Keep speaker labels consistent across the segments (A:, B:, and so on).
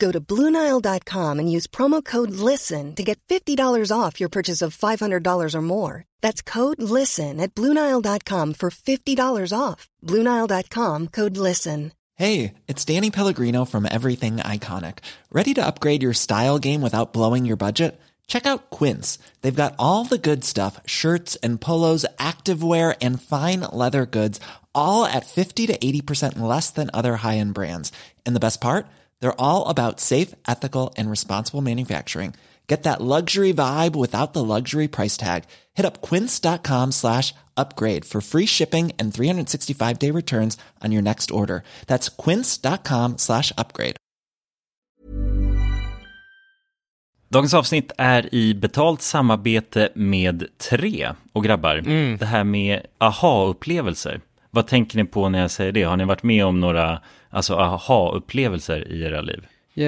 A: Go to BlueNile.com and use promo code LISTEN to get $50 off your purchase of $500 or more. That's code LISTEN at BlueNile.com for $50 off. BlueNile.com code LISTEN.
B: Hey, it's Danny Pellegrino from Everything Iconic. Ready to upgrade your style game without blowing your budget? Check out Quince. They've got all the good stuff shirts and polos, activewear, and fine leather goods, all at 50 to 80% less than other high end brands. And the best part? They're all about safe, ethical, and responsible manufacturing. Get that luxury vibe without the luxury price tag. Hit up quince.com slash upgrade for free shipping and 365-day returns on your next order. That's quince.com slash upgrade.
C: Dagens avsnitt är i betalt samarbete med Tre. Och grabbar,
D: Mm.
C: det här med aha-upplevelser. Vad tänker ni på när jag säger det? Har ni varit med om några alltså, aha-upplevelser i era liv?
D: Eh,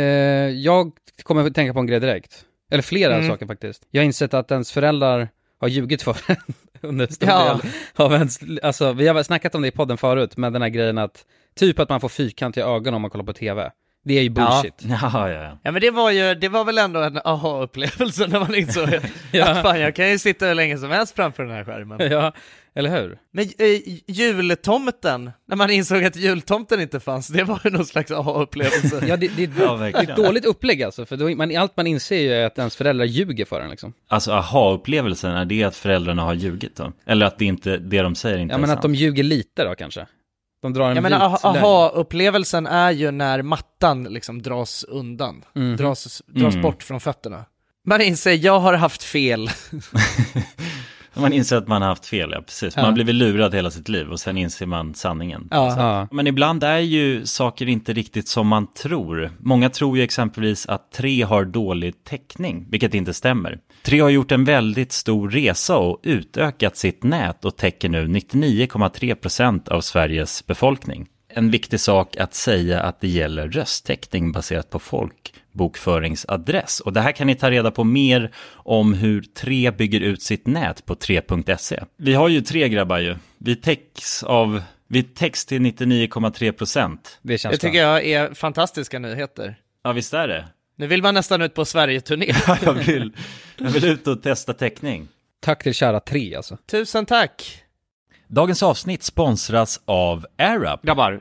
D: Jag kommer att tänka på en grej direkt. Eller flera
E: Mm.
D: saker faktiskt. Jag har insett att ens föräldrar har ljugit för en under stor
E: Ja.
D: del av ens... Alltså, vi har väl snackat om det i podden förut, men den här grejen att typ att man får fyrkantiga ögon om man kollar på TV. Det är ju bullshit.
C: Ja, ja, ja.
E: Ja men det var ju, det var väl ändå en aha-upplevelse när man insåg
D: Ja.
E: att fan jag kan ju sitta hur länge som helst framför den här skärmen.
D: ja, eller hur?
E: Men eh, jultomten, när man insåg att jultomten inte fanns, det var ju någon slags aha-upplevelse.
D: Ja, det, det,
C: Ja,
D: det är ett
C: verkligen.
D: dåligt upplägg alltså, för då, man, allt man inser ju är att ens föräldrar ljuger för en liksom.
C: Alltså aha-upplevelsen, är det att föräldrarna har ljugit då? Eller att det, inte, det de säger inte
D: Ja, men
C: är
D: att de
C: sant?
D: ljuger lite då kanske. De drar en
E: Jag
D: vit
E: menar aha-
D: lögn.
E: aha-upplevelsen är ju när mattan liksom dras undan,
D: Mhm.
E: dras, dras
C: Mm.
E: bort från fötterna. Man inser, jag har haft fel.
C: Man inser att man har haft fel, ja precis. Man
E: Ja.
C: har blivit lurad hela sitt liv och sen inser man sanningen.
D: Ja.
C: Men ibland är ju saker inte riktigt som man tror. Många tror ju exempelvis att tre har dålig täckning, vilket inte stämmer. Tre har gjort en väldigt stor resa och utökat sitt nät och täcker nu 99,3% av Sveriges befolkning. En viktig sak att säga att det gäller rösttäckning baserat på folkbokföringsadress. Och det här kan ni ta reda på mer om hur Tre bygger ut sitt nät på 3.se. Vi har ju tre grabbar ju. Vi täcks av vi täcks till 99,3 procent.
D: Det
E: Det
D: känns
E: tycker jag är fantastiska nyheter.
C: Ja, visst är det?
E: Nu vill man nästan ut på Sverige-turné.
C: Jag vill, jag vill ut och testa täckning.
D: Tack till kära tre alltså.
E: Tusen tack!
C: Dagens avsnitt sponsras av AirUp.
F: Grabbar,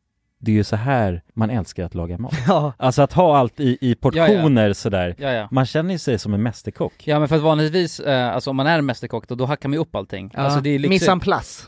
C: det är ju så här man älskar att laga mat.
E: Ja.
C: Alltså att ha allt i, i portioner sådär.
G: Ja, ja.
C: Man känner ju sig som en mästerkock.
G: Ja men för att vanligtvis, eh, alltså om man är mästerkock då, då hackar man ju upp allting.
E: ja.
G: Alltså det är
F: liksom-
G: lyxigt.
E: Missan plus.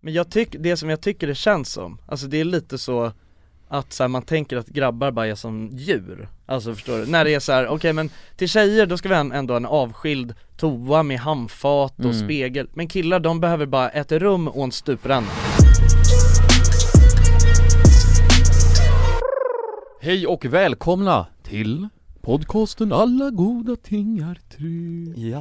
E: Men jag tycker, det som jag tycker det känns som, alltså det är lite så att så här, man tänker att grabbar bara är som djur, alltså förstår du? När det är så här, okej men till tjejer då ska vi ha en, ändå ha en avskild toa med handfat och spegel, men killar de behöver bara ett rum och en stupränna
A: Hej och välkomna till podcasten Alla goda ting är tre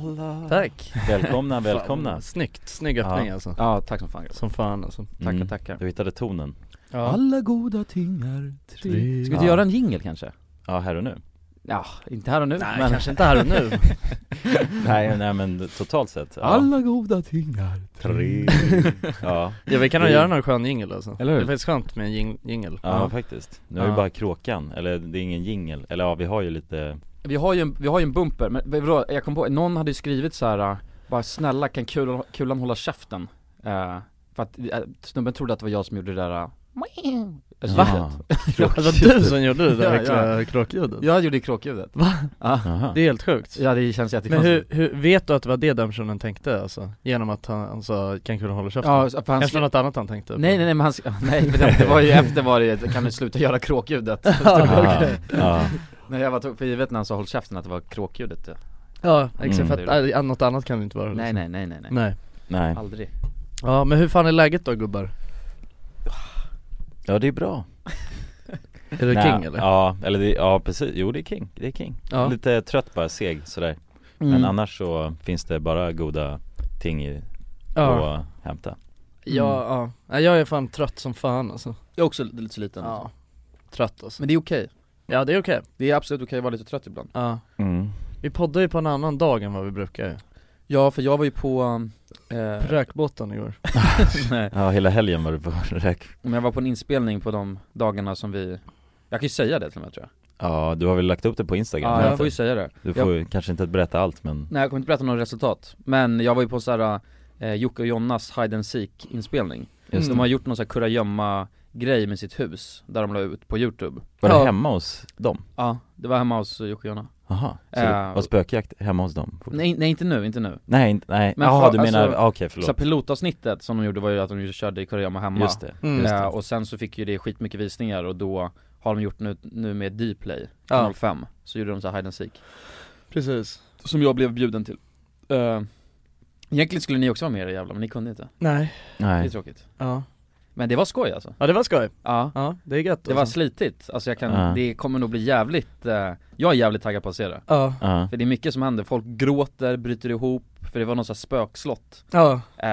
E: Tack!
C: Välkomna, välkomna!
E: Snyggt, snygg öppning alltså
D: Ja, tack som fan grabbar.
E: Som fan alltså
D: Tackar,
C: Mm.
D: tackar.
C: Du hittade tonen.
A: Alla goda ting är tre
D: Ska vi inte göra en jingle kanske?
C: Ja, här och nu.
D: Ja, inte här och nu
E: Nej
D: men...
E: kanske inte här och nu
C: Nej, nej men totalt sett. Ja.
A: Alla goda ting är tre
C: Ja,
E: Ja vi kan nog göra någon skön jingel alltså
D: Eller hur?
E: Det är faktiskt skönt med en jing- jingel
C: ja, faktiskt. Nu har vi
E: Ja.
C: bara kråkan, eller det är ingen jingel, eller ja vi har ju lite
D: Vi har ju en, vi har ju en bumper, men vadå, jag kom på, någon hade ju skrivit så här. äh, bara snälla kan kulan, kulan hålla käften? Eh, för att eh, snubben trodde att det var jag som gjorde det där, äh,
C: Va?
E: Alltså du som gjorde det där
D: Ja,
E: äckliga kråkljudet
D: Jag gjorde kråkljudet
C: Jaha.
E: Det är helt sjukt
D: Ja det känns
E: Men hur,
D: jättekonstigt
E: hur, vet du att det var det den personen tänkte alltså? Genom att han, han sa 'kan kunna hålla käften'?
D: Ja, så- för han
E: Kanske
D: skrev,
E: något annat han tänkte på.
D: nej nej nej men han skrev, nej men det, det var ju efter var det ju, kan du sluta göra kråkljudet?
C: Ja, ja.
D: Nej jag var tog för givet när han sa håll käften att det var kråkljudet
E: Ja, exakt,
C: Mm.
E: för att äh, något annat kan det inte vara
D: Nej
E: liksom.
D: nej nej nej nej,
E: nej
C: Nej,
D: aldrig
E: Ja men hur fan är läget då gubbar?
C: ja det är bra
E: Är det
C: Nej,
E: king eller?
C: Ja, eller det, ja precis, jo det är king, det är king
E: Ja.
C: Lite trött bara, seg sådär Men annars så finns det bara goda ting i,
E: ja.
C: att hämta
E: Ja, ja. Nej, jag är fan trött som fan alltså
H: Jag är också lite sliten liksom.
E: Ja Trött alltså
H: Men det är okej,
E: Ja det är okej
H: det är absolut okej att vara lite trött ibland
E: Ja
C: mm.
E: Vi poddar ju på en annan dag än vad vi brukar ju
H: Ja för jag var ju på, um,
D: äh,
H: eh,
E: Rökbåten igår
H: nej,
C: Ja, hela helgen var du på räk
D: Men jag var på en inspelning på de dagarna som vi Jag kan ju säga det till och med tror jag
C: Ja, du har väl lagt upp det på Instagram?
D: Ja
C: har
D: jag
C: du
D: får ju
C: inte?
D: säga det
C: Du får ju kanske inte berätta allt men
D: Nej jag kommer inte berätta något resultat, men jag var ju på såhär eh, Jocke och Jonas Hide and Seek inspelning
C: Just
D: Mm, De har gjort någon sån här kurragömma grej med sitt hus, där de la ut på youtube
C: Var
E: Ja.
C: du hemma hos dem?
D: Ja, det var hemma hos Jocke och Jonna
C: Jaha, så
D: Eh,
C: det var spökjakt hemma hos dem?
D: Nej, nej inte nu, inte nu
C: Nej, inte- nej,
D: Men
C: jaha
D: för-
C: du menar,
D: alltså-
C: ah, okej
D: så här,
C: förlåt
D: pilotavsnittet som de gjorde var ju att de ju körde kurragömma hemma
C: Just det,
E: Mm.
C: just
D: Eh,
C: det.
D: Och sen så fick ju det skitmycket visningar och då har de gjort nu, nu med Dplay,
E: Ja.
D: kanal 5, så gjorde de så här Hide and Seek
E: Precis
D: Som jag blev bjuden till Eh, Egentligen skulle ni också vara med era jävlar, men ni kunde inte,
E: Nej
D: det är
C: Nej,
D: tråkigt
E: Ja
D: Men det var skoj alltså
E: Ja det var skoj
D: Ja,
E: Ja det är gött
D: det var
E: alltså.
D: slitigt, alltså jag kan,
C: Ja.
D: det kommer nog bli jävligt, eh, jag är jävligt taggad på att se det
E: Ja
C: ja,
D: För det är mycket som händer, folk gråter, bryter ihop, för det var någon sån här spökslott
E: Ja
D: eh,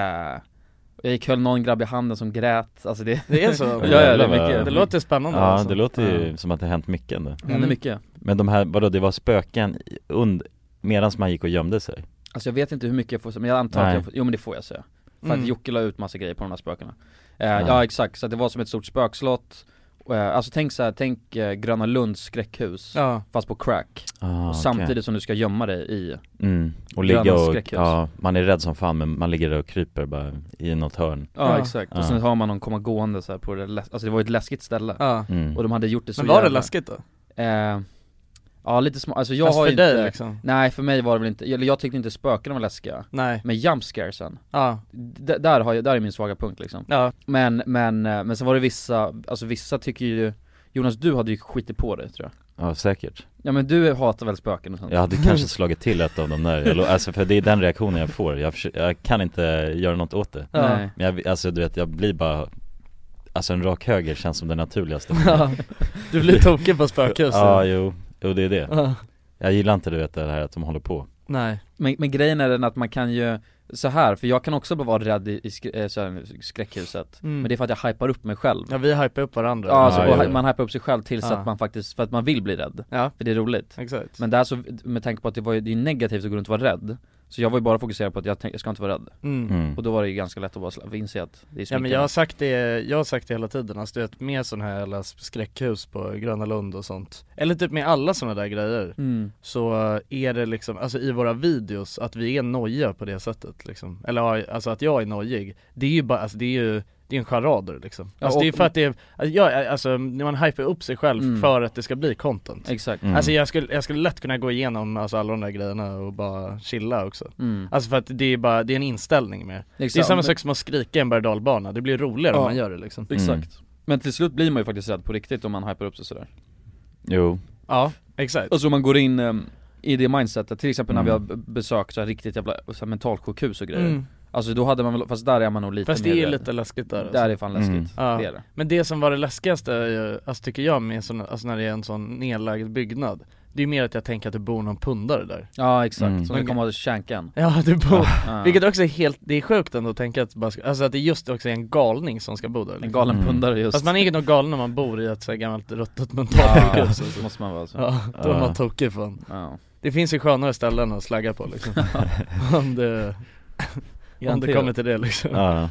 D: Jag gick höll någon grabb i handen som grät, alltså det
E: Det är så?
C: Ja,
D: ja, det är
C: vad-
D: mycket-
E: Det låter spännande
C: ja
E: alltså.
C: det låter ju som att det har hänt mycket ändå
D: hände mycket
C: Men de här, vadå det var spöken i- und, medans man gick och gömde sig?
D: Alltså jag vet inte hur mycket jag får säga, men jag antar
C: Nej.
D: att jag får, jo men det får jag säga För
E: Mm.
D: att Jocke la ut massa grejer på de här spökena eh,
C: Ja.
D: ja. exakt, så att det var som ett stort spökslott eh, alltså tänk så här, tänk eh, Gröna Lunds skräckhus,
E: Ja.
D: fast på crack.
C: Ah,
D: och
C: okej.
D: samtidigt som du ska gömma dig i,
C: Mm. Och
D: Gröna
C: ligga och,
D: skräckhus.
C: ja, man är rädd som fan men man ligger där och kryper bara i något hörn
D: ja,
E: Ja.
D: exakt.
C: Ja.
D: Och sen har man någon komma gående så här på det, lä- alltså det var ju ett läskigt ställe.
E: Ja.
C: mm.
D: Och de hade gjort det så
E: Men var det
D: jävla-
E: läskigt då?
D: Eh, ja lite små, alltså jag
E: Alltså
D: har
E: för
D: ju
E: dig
D: inte,
E: liksom?
D: nej för mig var det väl inte, eller jag tyckte inte spöken var läskiga
E: Nej,
D: Men jumpscaresen,
E: ja,
D: d- där har jag, där är min svaga punkt liksom
E: ja,
D: Men, men, eh, men sen var det vissa, alltså vissa tycker ju Jonas du hade ju skitit på det tror jag
C: Ja säkert
D: Ja men du hatar väl spöken och sånt?
C: Jag hade kanske slagit till ett av dem där, Jag lo- alltså för det är den reaktionen jag får, jag, försö- jag kan inte göra något åt det
E: ja.
D: Nej.
C: Men jag, alltså du vet, jag blir bara Alltså en rak höger känns som det naturligaste
E: Ja. Du blir tokig på spökhus
C: Ja, jo, jo det är det
E: Ja.
C: Jag gillar inte du vet det här att de håller på
E: Nej,
D: Men, men grejen är den att man kan ju, så här för jag kan också bara vara rädd i, i skrä- eh, så här, skräckhuset
E: Mm.
D: Men det är för att jag hypar upp mig själv
E: ja vi hypar upp varandra
D: Ja, alltså,
C: Ja,
D: och
C: jo.
D: hy- man hypar upp sig själv tills
E: Ja.
D: att man faktiskt, för att man vill bli rädd
E: Ja.
D: För det är roligt
E: Exakt
D: Men där så, med tanke på att det var ju, det är ju negativt att gå runt och vara rädd Så jag var ju bara fokuserad på att jag, tänk, jag ska inte vara rädd
E: mm.
C: mm.
D: Och då var det ju ganska lätt att bara sla- inse att det är
E: Ja men
D: smickrande.
E: jag har sagt det, jag har sagt det hela tiden, alltså du vet med sådana här jävla skräckhus på Gröna Lund och sånt Eller typ med alla sådana där grejer
D: mm.
E: Så eh, är det liksom, alltså i våra videos, att vi är nojiga på det sättet liksom Eller ja, alltså att jag är nojig, det är ju bara, alltså det är ju det är en charader liksom
D: Ja,
E: Alltså det är
D: och-
E: för att det är, alltså, jag, alltså när man hypar upp sig själv
D: Mm.
E: för att det ska bli content
D: Exakt
C: Mm.
E: Alltså jag skulle, jag skulle lätt kunna gå igenom alltså, alla de där grejerna och bara chilla också
D: mm.
E: Alltså för att det är bara, det är en inställning mer
D: Exakt.
E: Det är samma
D: Men-
E: sak som att skrika i en berg och dalbana, det blir roligare om
D: Liksom- Ja.
E: man gör det liksom
D: Exakt Mm. Men till slut blir man ju faktiskt rädd på riktigt om man hypar upp sig sådär
C: Jo,
E: Ja, exakt
D: Alltså om man går in ehm, i det mindsetet, till exempel när vi har
C: Mm.
D: b- besökt så här riktigt jävla så här, mentalsjukhus och grejer
E: mm.
D: Alltså då hade man väl, fast där är man nog lite
E: Fast
D: mer
E: det är
D: rädd.
E: lite läskigt där alltså.
D: Där är fan läskigt,
C: Mm.
E: Ja.
D: det är det
E: Men det som var det läskigaste, är ju, alltså tycker jag med såna, alltså när det är en sån nedlagd byggnad Det är ju mer att jag tänker att det bor någon pundare där
D: Ja exakt,
C: Mm.
D: som det
E: Men-
D: kommer att känka en
E: Ja, det bor,
D: Ja.
E: vilket också är helt, det är sjukt ändå att tänka att bara, ska- alltså att det just också är en galning som ska bo där
D: En
E: liksom.
D: galen
C: Mm.
D: pundare just
E: Fast man är ju nog galen om man bor i ett så här gammalt ruttet
D: Ja,
E: mentalsjukhus
D: så måste man vara så
E: Ja, då är
C: Ja.
E: man tokig fan
D: Ja.
E: Det finns ju skönare ställen att slagga på liksom Om det, om det
D: Hanterat.
E: kommer till det liksom Ja,
C: ja,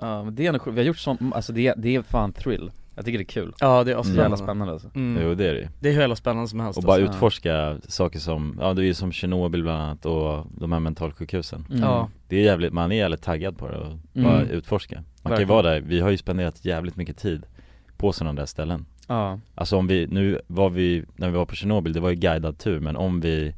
D: Ja men det är nog sjukt. vi har gjort sånt, alltså det, det är fan thrill Jag tycker det är kul,
E: det är
D: så
E: asspännande
D: jävla spännande alltså.
E: mm.
C: jo det är det
E: Det är hur jävla spännande som helst
C: Och bara
E: alltså.
D: Ja.
C: utforska saker som, ja det är ju som Tjernobyl bland annat och de här mentalsjukhusen
D: Mm.
E: Ja,
C: Det är jävligt, man är jävligt taggad på det och bara
D: Mm.
C: utforska Man kan ju
D: Verkligen.
C: vara där, vi har ju spenderat jävligt mycket tid på sådana där ställen
D: ja,
C: Alltså om vi, nu var vi, när vi var på Tjernobyl, det var ju guidad tur men om vi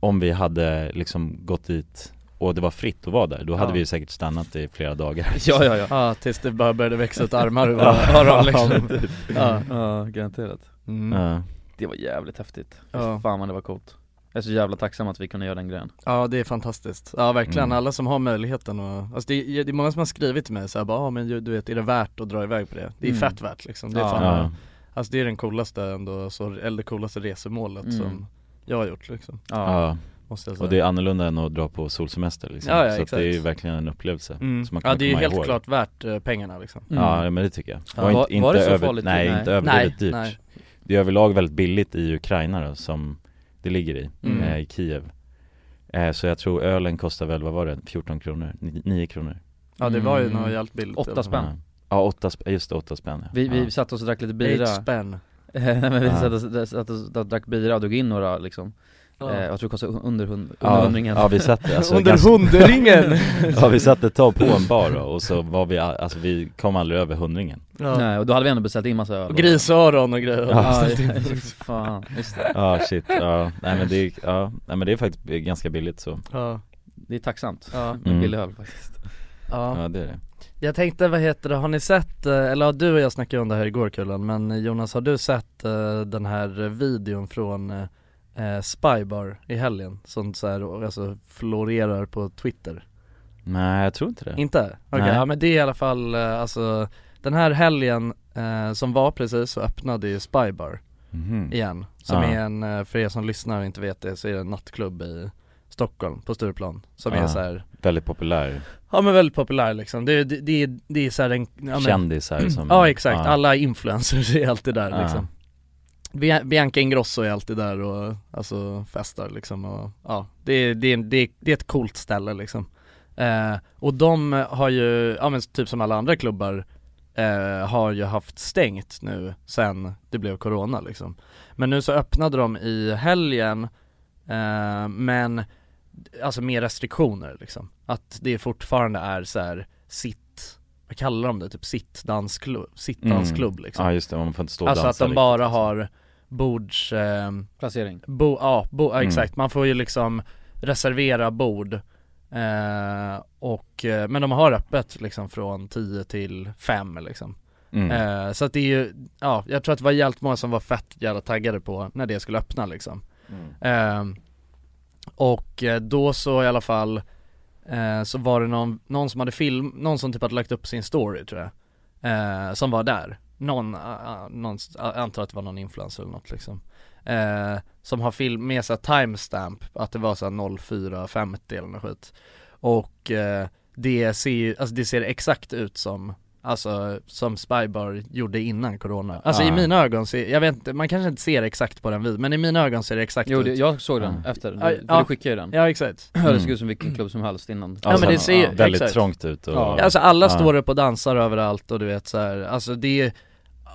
C: Om vi hade liksom gått dit och det var fritt att vara där, då hade
E: Ja.
C: vi ju säkert stannat i flera dagar
D: ja ja ja,
E: ja tills det bara började växa ut armar ur öron liksom Ja,
D: ja garanterat
E: mm.
C: typ. Ja,
D: Det var jävligt häftigt,
E: Ja.
D: ja. fan vad det var coolt Jag är så jävla tacksam att vi kunde göra den grejen
E: ja det är fantastiskt, ja verkligen,
C: Mm.
E: alla som har möjligheten och, alltså det är, det är många som har skrivit till mig såhär bara, ja men ju- du vet, är det värt att dra iväg på det? Det är
D: Mm.
E: fett värt liksom, det är
D: Ja.
E: fan,
C: ja,
E: alltså det är den coolaste ändå, så, eller det coolaste resemålet
D: Mm.
E: som jag har gjort liksom,
C: ja.
E: måste jag säga
C: och det är annorlunda än att dra på solsemester liksom.
E: Ja, ja,
C: Så att det är ju
E: exakt.
C: verkligen en upplevelse
E: Mm.
C: som man kommer
E: Ja det är ju
C: komma
E: helt
C: ihåg.
E: klart värt eh, pengarna liksom
C: Ja men det tycker jag
D: Mm. Ja. Var- var det så
C: över-
D: farligt?
C: Nej,
D: Nej.
C: inte överdrivet
E: Nej,
C: dyrt
E: nej.
C: Det är överlag väldigt billigt i Ukraina då, som det ligger i,
E: Mm.
C: eh, i Kiev eh, Så jag tror ölen kostar väl, vad var det, 14 kronor, 9 kronor
E: Ja det var ju
D: Mm.
E: något jävligt billigt
D: Åtta spänn.
C: Ja, ja åtta, sp- just det, åtta spänn ja.
D: Vi, vi
C: ja.
D: satt oss och drack lite bira
E: Bira spänn
D: Nej, men vi
C: Ja.
D: satt oss, satt oss och drack bira och drog in några liksom
E: Ja.
D: eh, Jag tror det kostade under, hund, under
C: ja,
D: hundringen
C: ja vi satt det, alltså,
E: Under
C: ganska-
E: hundringen!
C: Ja vi satt ett tag på en bar då, och så var vi, all- alltså vi kom aldrig över hundringen
E: ja.
D: Nej, och då hade vi ändå beställt in massa öl
E: Och grisöron och grejer
D: Ja, fan, just det.
C: Ja shit, ja, nej men det är, ja, nej men det är faktiskt ganska billigt så
E: Ja.
D: Det är tacksamt,
E: Ja.
C: Mm.
D: med billig öl faktiskt
E: Ja.
C: Ja det är det
E: jag tänkte vad heter det, har ni sett, eh, eller ja, du och jag snackade om det här igår Kullen, men Jonas har du sett eh, den här videon från eh, Spybar i helgen? Som så här, alltså florerar på Twitter?
C: Nej jag tror inte det
E: Inte? Okej,
C: Nej.
E: ja men det är i alla fall, eh, alltså den här helgen eh, som var precis så öppnade ju Spybar
C: Mhm.
E: igen Som
C: Ja.
E: är en, eh, för er som lyssnar och inte vet det, så är det en nattklubb i Stockholm, på Stureplan Som är
C: Ja.
E: så här,
C: Väldigt populär,
E: ja men väldigt populär liksom Det, det, det, är- det är så här en, ja, men, Mm.
C: kändisar som
E: Ja exakt, alla influencers är alltid där liksom Bia- Bianca Ingrosso är alltid där och alltså festar liksom och ja, det är, det är, det är, det är ett coolt ställe liksom eh, Och de har ju, ja men typ som alla andra klubbar eh, har ju haft stängt nu sen det blev corona liksom. Men nu så öppnade de i helgen, eh, men alltså med restriktioner liksom. Att det fortfarande är så här sitt, vad kallar de det? Typ sitt dansklubb, sitt
C: Mm.
E: dansklubb liksom.
C: Ja just det, man får inte stå och
E: Alltså
C: dansa liksom.
E: att de bara
C: riktigt.
E: har bords, eh,
I: Placering.
E: bo, ja, bo, ja
C: Mm.
E: exakt, man får ju liksom reservera bord eh, och, eh, men de har öppet liksom från 10 till 5 liksom.
C: Mm.
E: Eh, så att det är ju, ja jag tror att det var jävligt många som var fett jävla taggade på när det skulle öppna liksom. Eh, och eh, då så i alla fall eh, så var det någon, någon som hade film, någon som typ hade lagt upp sin story tror jag. Eh, som var där. Någon, ah, ah, någon, jag antar att det var någon influencer eller något liksom. Eh, som har film med sig timestamp, att det var så här 04.50 eller något skit. Och eh, det ser ju, alltså det ser exakt ut som Alltså som Spybar gjorde innan corona. Alltså i
C: Ah.
E: mina ögon, ser, jag vet inte, man kanske inte ser exakt på den videon, men i mina ögon ser det exakt
D: Jo
E: ut
D: det, jag såg den
C: Ja.
D: efter,
E: Ja,
D: du,
E: ja.
D: du skickade ju den
E: Ja exakt
D: Det såg ut som vilken klubb som helst innan
E: Ja, men det ser ju-
D: ja.
C: Alltså, Väldigt
E: exakt.
C: trångt ut och...
D: Ja.
E: Alltså alla
C: Ja.
E: står upp och dansar överallt och du vet så här. alltså det är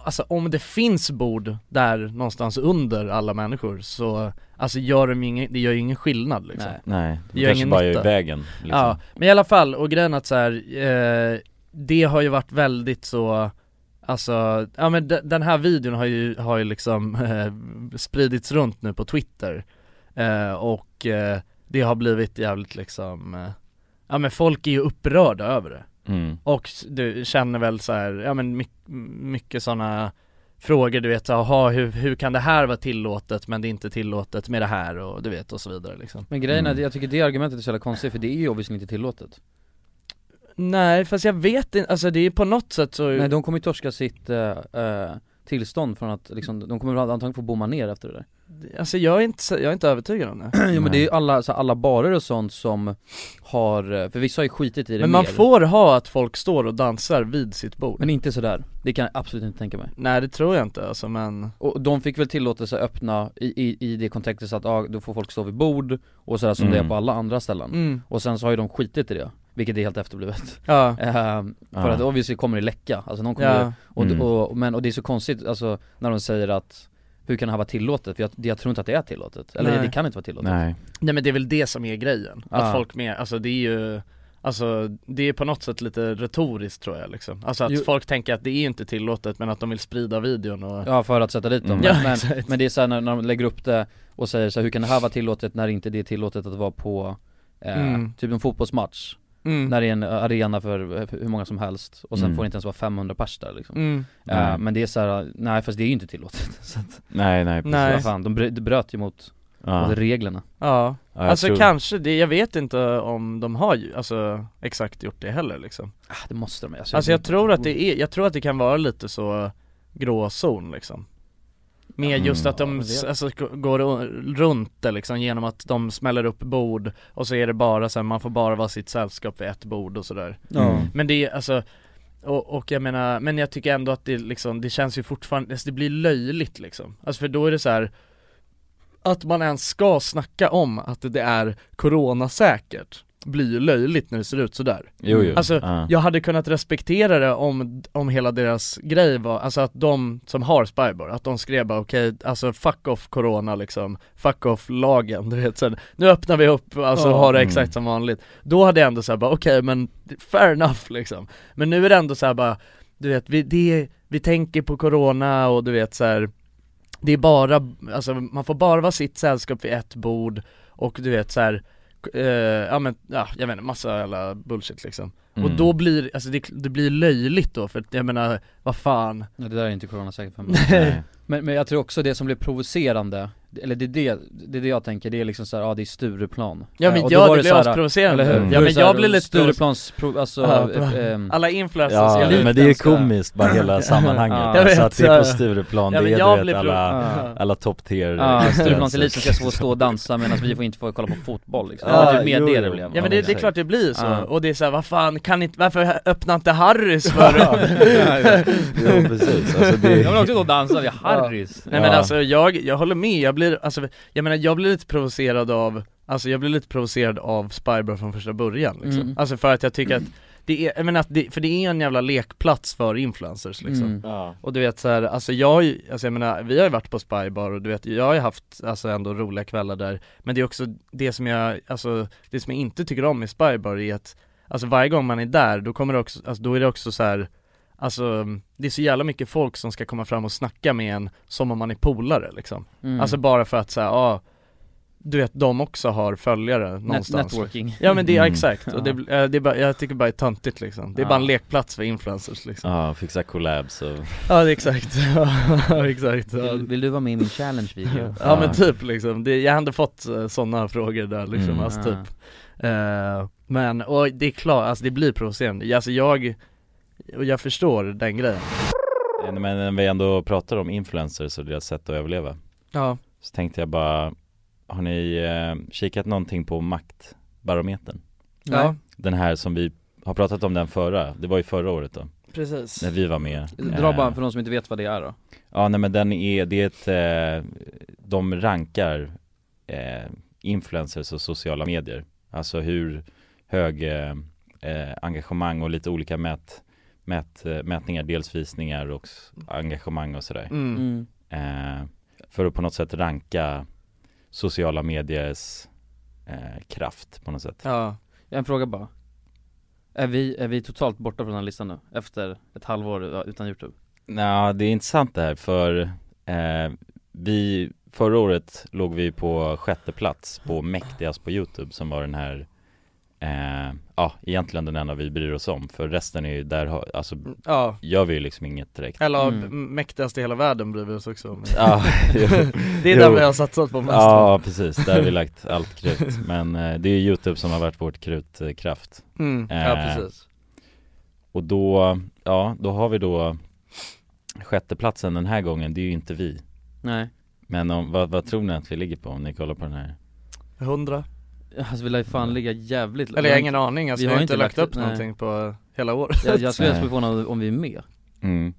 E: Alltså om det finns bord där någonstans under alla människor så Alltså gör de ju ingen, det gör ju ingen skillnad liksom
D: Nej.
C: Nej, det
E: Gör
C: kanske
E: ingen
C: bara är i
E: nytta.
C: vägen liksom.
E: Ja, men i alla fall, och grejen att så här, eh, det har ju varit väldigt så Alltså, ja men de, den här videon har ju, har ju liksom eh, spridits runt nu på Twitter eh, Och eh, det har blivit jävligt liksom eh, Ja men folk är ju upprörda över det
C: Mm.
E: och s- du känner väl så här, ja men my- mycket sådana frågor du vet, jaha hur, hur kan det här vara tillåtet men det är inte tillåtet med det här och du vet och så vidare liksom
D: Men grejen är,
C: Mm.
D: jag tycker det argumentet är så jävla konstigt för det är ju obviously inte tillåtet
E: Nej fast jag vet inte, alltså det är på något sätt så
D: Nej de kommer ju torska sitt eh, eh, tillstånd från att liksom, de kommer väl antagligen få bomma ner efter det där
E: Alltså jag är inte, så- jag är inte övertygad om det
D: Jo men
C: Nej.
D: det är ju alla, så här, alla barer och sånt som har, eh, för vissa har ju skitit i det
E: Men man
D: mer,
E: får ha att folk står och dansar vid sitt bord
D: Men inte sådär, det kan jag absolut inte tänka mig
E: Nej det tror jag inte alltså men
D: Och de fick väl tillåtelse att öppna i, i, i det kontextet så att ja, då får folk stå vid bord och sådär som det
C: Mm.
D: är på alla andra ställen
E: mm.
D: Och sen så har ju de skitit i det, vilket är helt efterblivet
E: Ja,
D: Ehm, För
C: Ja.
D: att obviously kommer det läcka, alltså någon kommer ju-
E: ja,
D: och,
C: Mm.
D: och, men, och det är så konstigt, alltså när de säger att hur kan det här vara tillåtet? För jag, jag tror inte att det är tillåtet, eller
E: Nej.
D: det kan inte vara tillåtet
C: Nej.
E: nej men det är väl det som är grejen,
D: Ja.
E: att folk mer, alltså det är ju Alltså det är på något sätt lite retoriskt tror jag liksom Alltså att
D: Jo.
E: folk tänker att det är inte tillåtet men att de vill sprida videon och
D: Ja för att sätta dit dem,
C: Mm.
E: Ja,
D: men,
E: exakt.
D: men det är såhär när, när de lägger upp det och säger så här, hur kan det här vara tillåtet när inte det är tillåtet att vara på eh,
E: Mm.
D: typ en fotbollsmatch?
E: Mm.
D: När det är en arena för eh, hur många som helst och sen
C: Mm.
D: får det inte ens vara 500 pers där liksom
E: Mm.
D: Eh,
C: Nej.
D: Men det är såhär, nej fast det är ju inte tillåtet så att,
C: Nej, nej, precis.
E: Nej.
D: vad fan, de, bry- de bröt ju mot,
C: Ja.
D: mot reglerna
E: Ja,
C: Ja, jag
E: alltså
C: tror-
E: kanske det, jag vet inte om de har ju, alltså exakt gjort det heller liksom
D: ah, det måste de ju,
E: Alltså jag tror att det är, jag tror att det kan vara lite så gråzon liksom med
C: Mm.
E: just att de
D: Ja,
E: s-
D: det-
E: alltså, g- går o- runt det liksom genom att de smäller upp bord och så är det bara så här, man får bara vara sitt sällskap vid ett bord och sådär
C: Mm.
E: Men det är alltså, och, och jag menar, men jag tycker ändå att det liksom, det känns ju fortfarande, alltså det blir löjligt liksom Alltså för då är det så här att man ens ska snacka om att det är coronasäkert blir ju löjligt när det ser ut sådär
C: Jo, jo.
E: Alltså,
C: ja.
E: jag hade kunnat respektera det om, om hela deras grej var, alltså att de som har Spybar, att de skrev bara okej, alltså fuck off corona liksom, fuck off lagen, du vet sen, nu öppnar vi upp, alltså
D: Ja.
E: har det
C: Mm.
E: exakt som vanligt Då hade jag ändå såhär bara okej men fair enough liksom Men nu är det ändå såhär bara, du vet, vi, det, vi tänker på corona och du vet så här. Det är bara, alltså man får bara vara sitt sällskap vid ett bord och du vet så här. eh, ja men, ja, jag vet inte, massa jävla bullshit liksom och
C: Mm.
E: då blir, alltså det, det blir löjligt då för att jag menar, vad fan
D: Nej det där är inte coronasäkert för mig
C: Nej.
E: alltså,
D: Men, men jag tror också det som blir provocerande, eller det är det, det, är det jag tänker, det är liksom såhär, ja det är Stureplan
E: Ja
D: Eh,
E: men
D: och då
E: ja
D: var
E: det blir
D: så här,
E: asprovocerande,
D: eller hur?
C: Mm.
D: Då
E: ja
D: var
E: men
D: det så här,
E: jag blir lite provocerad
D: Stureplans, pro, alltså,
E: Ja,
D: eh, ehm,
E: alla influencers
C: Ja,
E: är lite
C: men det är ju
E: så här-
C: komiskt bara hela sammanhanget.
D: Ja.
E: Jag
C: Så
E: vet,
C: att det är på
E: ja.
C: Stureplan,
E: Ja,
C: det
E: men
C: är
E: jag
C: du
E: blir
C: vet alla,
D: ja.
C: alla top tier
D: Ja,
C: influencers.
D: Stureplanseliten ska få stå och dansa medan vi får inte få kolla på fotboll liksom.
C: Ja,
D: Ja, det är mer
C: jo,
D: det
C: jo.
D: det blev
E: Ja men det, det är klart det blir så,
D: Ja.
E: och det är såhär, vad fan kan inte, varför öppnar inte Harrys för?
C: Jo, precis. Alltså, det
D: Jag vill
C: är...
D: också då dansa vid Harrys
E: Nej men
C: Ja.
E: alltså jag, jag håller med, jag blir, alltså jag menar jag blir lite provocerad av, alltså jag blir lite provocerad av Spybar från första början liksom.
D: Mm.
E: Alltså för att jag tycker att det är, jag menar att det, för det är en jävla lekplats för influencers liksom
D: Mm.
C: Ja.
E: Och du vet så här, alltså jag har ju, alltså jag menar, vi har ju varit på Spybar och du vet, jag har ju haft alltså ändå roliga kvällar där Men det är också det som jag, alltså det som jag inte tycker om i Spybar är att Alltså varje gång man är där, då kommer det också, alltså då är det också så här Alltså det är så jävla mycket folk som ska komma fram och snacka med en som om man är polare liksom
D: Mm.
E: Alltså bara för att säga ja ah, du vet de också har följare
D: Net-
E: någonstans
D: networking.
E: Ja men det, ja
C: Mm.
E: exakt, och det, eh, det är bara, jag tycker bara det är töntigt liksom Det är
D: Ja.
E: bara en lekplats för influencers liksom
C: Ja, fixa collabs och...
E: Ja det är exakt, ja exakt ja.
D: Vill, vill du vara med i min challenge-video?
E: ja men typ liksom, det, jag hade fått sådana frågor där liksom,
C: Mm.
E: alltså
D: Ah.
E: typ Eh, Men, och det är klart, alltså det blir provocerande, alltså jag, och jag förstår den grejen
D: typ-
C: Men när vi ändå pratar om influencers och deras sätt att överleva
E: Ja
C: Så tänkte jag bara, har ni eh, kikat någonting på Maktbarometern?
E: Ja,
C: Den här som vi har pratat om den förra, det var ju förra året då,
E: precis
C: när vi var med
D: Dra
C: Eh,
D: bara för de som inte vet vad det är då.
C: Ja nej men den är, det är ett, eh, de rankar eh, influencers och sociala medier Alltså hur hög eh, eh, engagemang och lite olika mät, mät, eh, mätningar, dels visningar och s- engagemang och sådär
E: mm.
D: Mm.
C: eh, För att på något sätt ranka sociala mediers eh, kraft på något sätt
E: Ja,
D: En fråga bara. Är vi, är vi totalt borta från den här listan nu? Efter ett halvår ja, utan YouTube?
C: Nja, det är intressant det här för eh, vi, förra året låg vi på sjätte plats på mäktigast på Youtube som var den här eh, Ja, egentligen den enda vi bryr oss om för resten är ju där, har- alltså
E: ja,
C: gör vi ju liksom inget direkt
E: eller
D: Mm.
E: m- mäktigast i hela världen bryr vi oss också om
C: Ja, jo.
E: Det är där
C: Jo.
E: vi har satsat på mest
C: Ja precis, där har vi lagt allt krut Men eh, det är ju Youtube som har varit vårt krutkraft
E: mm. Ja
C: Eh,
E: precis
C: Och då, ja då har vi då sjätteplatsen den här gången, det är ju inte vi
D: Nej.
C: Men om, vad, vad tror ni att vi ligger på om ni kollar på den här?
E: 100
D: Alltså vi lär ju fan ligga jävligt
E: Eller jag har ingen aning, alltså, vi har, inte lagt, upp
D: nej.
E: någonting på hela året
D: Jag, jag skulle
C: Nej.
D: bli förvånad om vi är med.
C: Mm.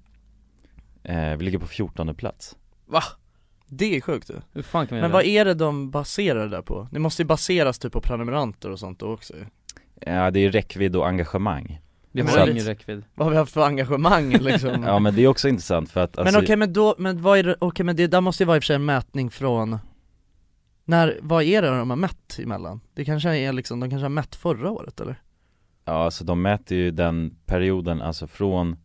C: Eh, vi ligger på 14 plats.
E: Det är sjukt ju.
D: Hur fan kan vi
E: Men
D: göra
E: vad
D: det?
E: är det de baserar det där på? Det måste ju baseras typ på prenumeranter och sånt då också ju.
C: Ja, det är räckvidd och engagemang.
D: Vi
E: Men
D: har
E: det-
D: ingen räckvidd.
E: Vad har vi haft för engagemang liksom?
C: Ja, men det är också intressant för att alltså,
E: Men okej men då, men vad är det, okej men det där måste ju vara i och för sig en mätning från när, vad är det de har mätt emellan? Det kanske är liksom, de kanske har mätt förra året eller?
C: ja, alltså de mäter ju den perioden, alltså från,
E: Ja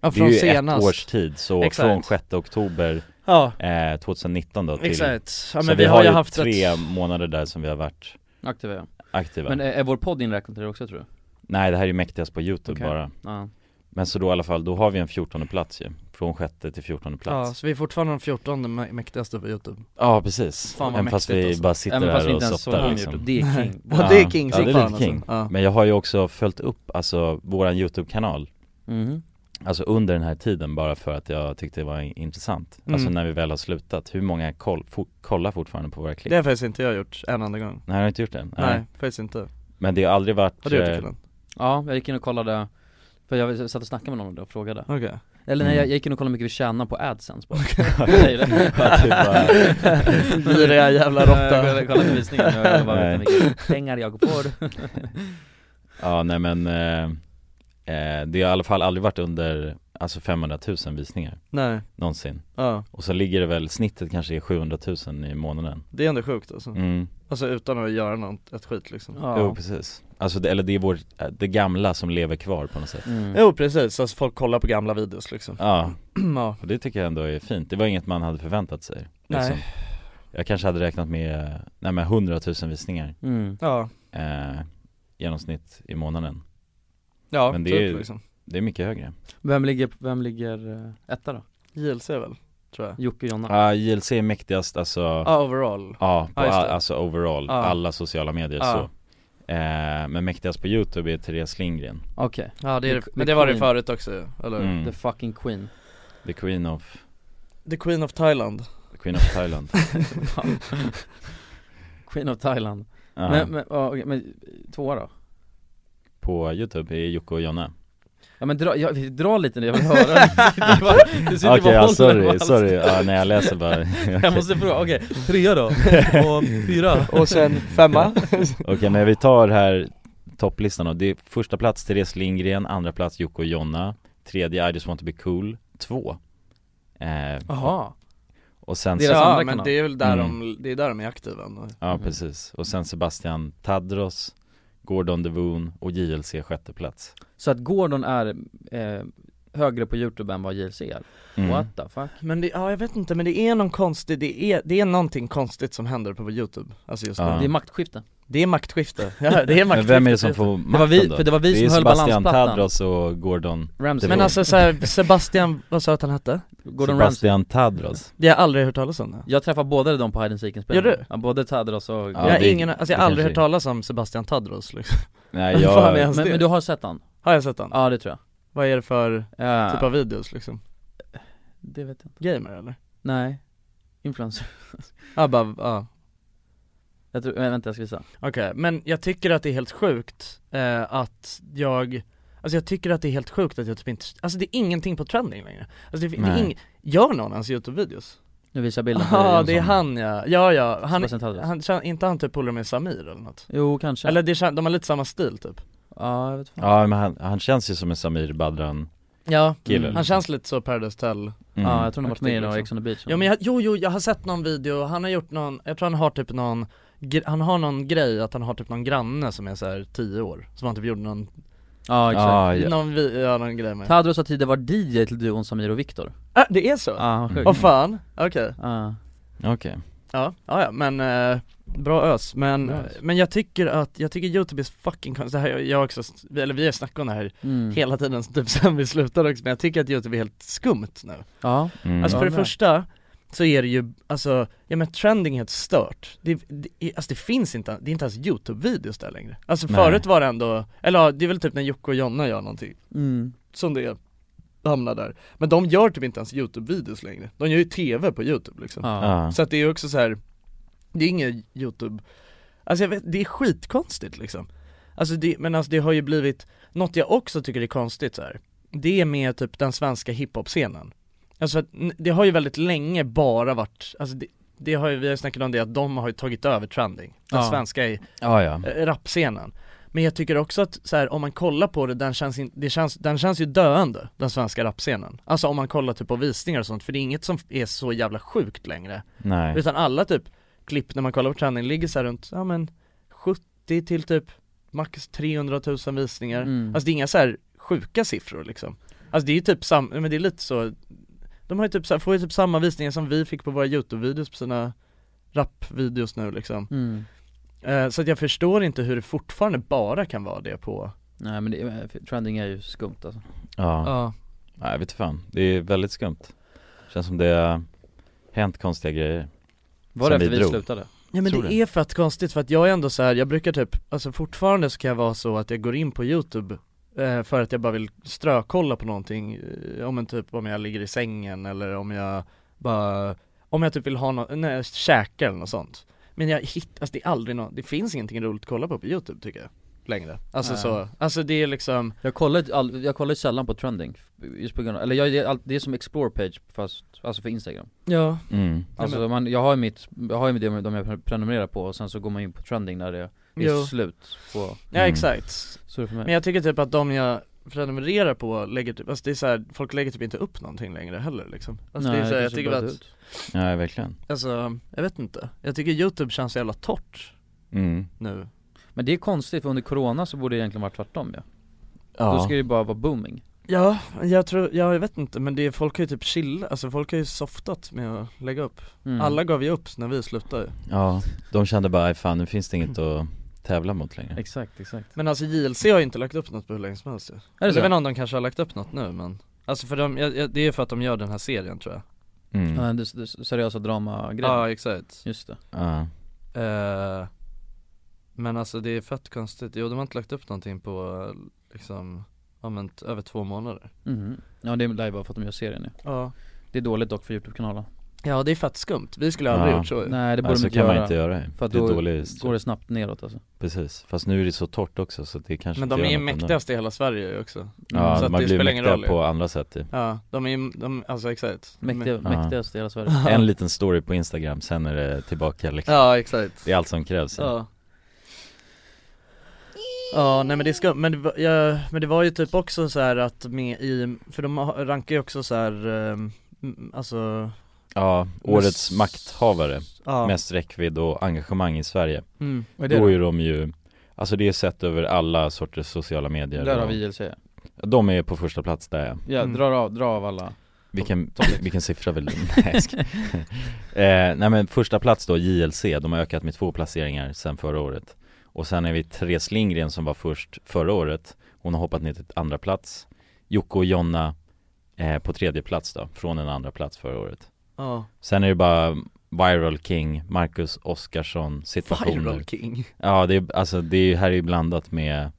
C: det är
E: från
C: ju
E: senast
C: ett års tid, så
E: Exakt.
C: från 6 oktober
E: Ja,
C: eh, 2019 då till,
E: exakt, ja, men
C: så vi, har ju haft tre månader där som vi har varit
D: Aktiva ja.
C: aktiva.
D: Men eh, är, är vår podd inräknad i det också tror du?
C: Nej, det här är ju mäktigast på youtube
D: Okej.
C: bara.
D: Ja.
C: Men så då i alla fall, då har vi en 14 plats ju, från sjätte till 14
E: Ja,
C: plats.
E: så vi är fortfarande de 14 mä- mäktigaste på youtube
C: Ja, precis.
E: Fan, vad
C: Även fast
E: mäktigt,
C: vi
E: alltså.
C: bara sitter
D: Även fast vi
C: här och
D: inte ens såg
C: softar
D: någon
C: liksom.
D: YouTube. Det är king.
E: Ja det är king
C: Ja,
E: som
C: det är
E: fan
C: lite king.
E: Alltså. Ja.
C: Men jag har ju också följt upp, alltså våran YouTube-kanal
D: Mhm.
C: Alltså under den här tiden bara för att jag tyckte det var in- intressant
E: Mm.
C: Alltså när vi väl har slutat, hur många koll, for, kollar fortfarande på våra klipp?
E: Det har faktiskt inte jag gjort en enda gång
C: Nej jag har inte gjort det?
E: Nej, faktiskt inte.
C: Men det har aldrig varit
E: Har du gjort det
C: eh,
E: killen?
D: Ja, jag gick in och kollade för jag satt och snackade med någon om det och frågade
E: Okej
D: Eller nej,
C: Mm.
D: jag, jag gick in och kollade hur mycket vi tjänar på AdSense bara Jag säger det.
C: Ja, typ bara-
E: Giriga jävla råtta.
D: Jag kollade- kollade visningen och jag bara
C: Nej.
D: vet hur mycket pengar jag får
C: Ja nej men eh, eh, Det har i alla fall aldrig varit under, alltså 500 000 visningar
E: Nej,
C: Någonsin
E: ja
C: Och så ligger det väl, snittet kanske är 700 000 i månaden
E: det är ändå sjukt alltså
C: mm.
E: Alltså utan att göra något, ett skit liksom
D: Ja.
C: Jo precis Alltså det, eller det är vår, det gamla som lever kvar på något sätt
D: Mm.
E: Jo precis, alltså folk kollar på gamla videos liksom
C: Ja,
E: Ja,
C: Och det tycker jag ändå är fint, det var inget man hade förväntat sig liksom.
E: Nej.
C: Jag kanske hade räknat med, nej men 100 000 visningar
D: Mm.
E: ja,
C: eh, genomsnitt i månaden
E: ja
C: Men det
E: typ
C: är ju-
E: liksom
C: Det är mycket högre
D: Vem ligger, vem ligger eh, etta då?
E: JLC väl, tror jag
D: Jocke och Jonna?
C: Ja, JLC är mäktigast alltså, ja,
E: Ja overall
C: på
E: ja, just
C: all,
E: det.
C: alltså overall,
E: Ja.
C: alla sociala medier
E: Ja.
C: så eh, Men mäktigast på youtube är Therese Lindgren,
D: Okej,
E: Ja det är
D: Med-
E: men
D: med
E: det var det
D: Queen.
E: förut också ju, eller hur?
C: mm.
D: the fucking queen
C: the queen of,
E: The Queen of Thailand
C: the queen of Thailand
D: Queen of Thailand
C: Ja,
D: Men, men, ja, okej, men tvåa då?
C: På youtube är Jocke och Jonna
D: Ja men dra, jag, dra lite nu, jag vill höra Du bara- du sitter bara
C: Okej,
D: och
C: ja,
D: håller på
C: sorry,
D: halsen.
C: sorry, ja, när jag läser bara
D: Jag måste fråga, okej, trea då? Och fyra?
E: Och sen femma
C: Okej men vi tar här topplistan och det är första plats Therese Lindgren, andra plats Jocke och Jonna, tredje I just want to be cool, två eh,
J: Jaha
C: Och sen
J: Deras
E: ja,
J: andra
E: men
J: kanal.
E: det är väl där de,
C: Mm.
E: det är där de är aktiva ändå.
C: Ja precis, och sen Sebastian Tadros, Gordon Devoon och JLC sjätte plats
J: Så att Gordon är eh, högre på youtube än vad JLC är?
C: Mm.
J: What the fuck?
E: Men det, ja jag vet inte, men det är någon konstig, det är, det är någonting konstigt som händer på youtube, alltså just nu
C: Ja.
J: Det är maktskifte
E: Det är maktskifte, ja, det är
C: Men
E: maktskifte
C: vem är det som får
J: Det var vi, för det var vi
C: det är
J: som höll
C: Sebastian
J: balansplattan
C: Tadros och Gordon
J: Ramsey.
E: Men
C: Det-
E: alltså så här, Sebastian, vad sa du att han hette?
J: Gordon Ramsay
C: Sebastian Tadros
E: Det har jag aldrig hört talas om det
J: Jag träffade båda dem på Hide and seek inspelningen.
E: Gör du?
J: Ja, både Tadros och
C: Ja,
E: Jag har
C: det-
E: ingen, alltså jag
C: det
E: har aldrig hört
C: kanske är.
E: talas om Sebastian Tadros liksom
C: Nej
E: Vad fan är
C: jag,
E: han?
J: men,
E: det-
J: men du har sett han?
E: Har jag sett han?
J: Ja det tror jag
E: Vad är det för
J: Ja,
E: typ av videos liksom?
J: Det vet jag inte
E: Gamer eller?
J: Nej Influencer
E: Ja bara, ja
J: Jag tror, vä- vänta jag ska visa
E: Okej, men jag tycker att det är helt sjukt eh, att jag Alltså jag tycker att det är helt sjukt att jag typ inte, alltså det är ingenting på trending längre Alltså det, det är
C: Nej.
E: ing, gör någon hans youtube-videos?
J: Nu visar jag bilden på
E: Ja det är
J: Jonsson.
E: han ja, ja ja, han,
J: Sebastian Tadros.
E: han, känner- inte han typ polare med Samir eller något?
J: Jo kanske
E: Eller det, kän- de har lite samma stil typ
J: Ja jag vet fan.
C: ja men han, han känns ju som en Samir Badran
E: Ja,
C: kille
E: Mm. han känns lite så Paradise Tell
C: Mm.
J: Ja jag tror han har varit med i
E: Aktiv,
J: några
E: liksom.
J: Ex on the beach
E: Ja men jag, jo jo, jag har sett någon video, han har gjort någon, jag tror han har typ någon, gr- han har någon grej att han har typ någon granne som är såhär 10 år, som han typ gjorde någon,
J: Ja exakt
C: Ja, ja.
E: någon, vi, ja, någon grej med
J: Tadros har tidigare varit DJ till duon Samir och Viktor
E: ah, det är så? Åh
J: Ja, sjukt
C: Mm.
E: fan, okej,
J: Ja.
C: Okej
E: ja, ja, ja men eh, bra ös, men,
J: Bra ös.
E: men jag tycker att, jag tycker youtube är fucking konstigt, det här, jag har också, vi- eller vi har ju snackat om det här
J: Mm.
E: hela tiden typ sen vi slutade också, men jag tycker att youtube är helt skumt nu
J: Ja,
C: mm.
E: Alltså för det
J: Jag med.
E: första så är det ju, alltså, ja men trending är helt stört. Det, det, är- alltså det finns inte, det är inte ens youtube-videos där längre. Alltså
C: Nej.
E: förut var det ändå, eller ja, det är väl typ när Jocke och Jonna gör någonting
J: mm.
E: som det hamnar där. Men de gör typ inte ens youtube-videos längre. De gör ju tv på youtube liksom.
J: ja.
C: ja.
E: Så att det är ju också så här. det är inget youtube, alltså jag vet, det är skitkonstigt liksom. Alltså det, men alltså det har ju blivit, något jag också tycker är konstigt så här. det är med typ den svenska hiphop-scenen. Alltså att n- det har ju väldigt länge bara varit, alltså det, det har ju, vi har ju snackat om det att de har ju tagit över trending, den
J: Ja.
E: svenska i-
C: ja, ja.
E: eh, rapscenen. Men jag tycker också att så här, om man kollar på det, den känns, in, det känns, den känns ju döende, den svenska rapscenen. Alltså om man kollar typ på visningar och sånt, för det är inget som är så jävla sjukt längre.
C: Nej,
E: Utan alla typ klipp när man kollar på trending ligger så här runt, ja men 70 till typ max 300 000 visningar
J: Mm.
E: Alltså det är inga så här sjuka siffror liksom Alltså det är ju typ sam, men det är lite så De har ju typ så här, får ju typ samma visningar som vi fick på våra youtube-videos på sina rap-videos nu liksom
J: Mm.
E: eh, Så att jag förstår inte hur det fortfarande bara kan vara det på
J: Nej men det, eh, trending är ju skumt alltså
C: ja.
E: Ja
C: Nej, jag vet fan. Det är väldigt skumt. Känns som det har hänt konstiga grejer.
J: Var
C: Som
J: det efter
C: vi
J: vi
C: drog.
J: slutade?
E: Ja men
C: Tror
E: det
C: det.
E: är fett konstigt för att jag är ändå så här, jag brukar typ, alltså fortfarande så kan jag vara så att jag går in på youtube eh, för att jag bara vill strökolla på någonting, eh, om en typ om jag ligger i sängen eller om jag bara, om jag typ vill ha något, nej, käka eller något sånt Men jag hittar, alltså det är aldrig något, det finns ingenting roligt att kolla på på youtube tycker jag, längre Alltså
J: Nej.
E: så, alltså det är liksom,
J: Jag kollar, ju all, jag kollar ju sällan på trending, just på grund av, eller jag, det, är allt- det är som explore page fast, alltså för instagram
E: ja
C: Mm.
J: Alltså man, jag har ju mitt, jag har ju de, de jag prenumererar på och sen så går man in på trending när det är
E: Jo.
J: slut på,
E: Ja
C: Mm.
E: exakt,
J: så är det för mig
E: men jag tycker typ att de jag prenumererar på lägger typ, alltså det är så här, folk lägger typ inte upp någonting längre heller liksom Alltså det är så här, jag
J: kanske
E: tycker
J: bara
E: att
J: ut.
C: Ja, verkligen.
E: Alltså, jag vet inte. Jag tycker youtube känns så jävla torrt
C: Mm.
E: nu
J: Men det är konstigt för under corona så borde det egentligen varit tvärtom ja. Då
C: Ja.
J: ska det ju bara vara booming
E: Ja, jag tror, ja, jag vet inte men det är, folk har ju typ chill, alltså folk har ju softat med att lägga upp
J: Mm.
E: Alla gav ju upp när vi slutade
C: ja, de kände bara, "Aj, fan nu finns det inget att tävla mot längre.
J: Exakt, exakt
E: Men alltså JLC har ju inte lagt upp något på hur länge som helst ju.
J: Är det
E: Jag vet
J: så?
E: inte om de kanske har lagt upp något nu men Alltså för de, jag, jag, det är för att de gör den här serien tror jag
C: Mm.
J: Ja, det, det seriösa dramagrejen,
E: Ja exakt
J: just det
C: Ja.
E: Eh, Men alltså det är fett konstigt, jo de har inte lagt upp någonting på eh, liksom, ja men t- över två månader
D: Mm-hmm.
J: Mhm. Ja det är bara för att de gör serien ja.
E: Ja
J: Det är dåligt dock för youtube-kanalen
E: Ja det är fett skumt, vi skulle aldrig
C: Ja.
E: gjort så ju.
J: Nej det borde
C: Nej,
J: de
C: så
J: inte
C: Alltså, kan
J: göra
C: man inte göra det.
J: För att
C: det är
J: då
C: dåligt.
J: går det snabbt neråt alltså
C: Precis. Fast nu är det så torrt också så det kanske
E: Men de
C: inte
E: är ju
C: gör något ändå.
E: mäktigast i hela Sverige ju också
C: Ja,
E: så att
C: man
E: det
C: blir
E: spelar ingen
C: mäktiga
E: roll ju.
C: på andra sätt typ.
E: Ja, de är ju, de, alltså exakt
J: Mäktig,
C: Mm. Ja.
J: Mäktigast i hela Sverige
C: En liten story på Instagram, sen är det tillbaka liksom.
E: Ja exakt
C: Det är allt som krävs.
E: Ja Ja, nej men det ska, men, det var- ja, men det var ju typ också så här att med i, för de har- rankar ju också så här, ehm, m- alltså,
C: Ja, årets
E: Mest-
C: makthavare,
E: ja
C: mest räckvidd och engagemang i Sverige.
E: mm.
D: Vad
C: Då är de ju, alltså det är sett över alla sorters sociala medier.
D: Där har
C: och-
D: vi JLC.
C: De är på första plats där
D: Ja,
E: Mm.
D: drar av, dra av alla.
C: Vilken, vilken siffra vill du? Nej, jag ska- eh, nej men första plats då, JLC, de har ökat med två placeringar sedan förra året Och sen är vi Therese Lindgren som var först förra året Hon har hoppat ner till andra plats Jocke och Jonna eh, på tredje plats då, från en andra plats förra året
E: ja
C: Sen är det bara Viral King, Marcus Oskarsson, situationer
E: Viral king,
C: Ja det är, alltså det är, här är ju blandat med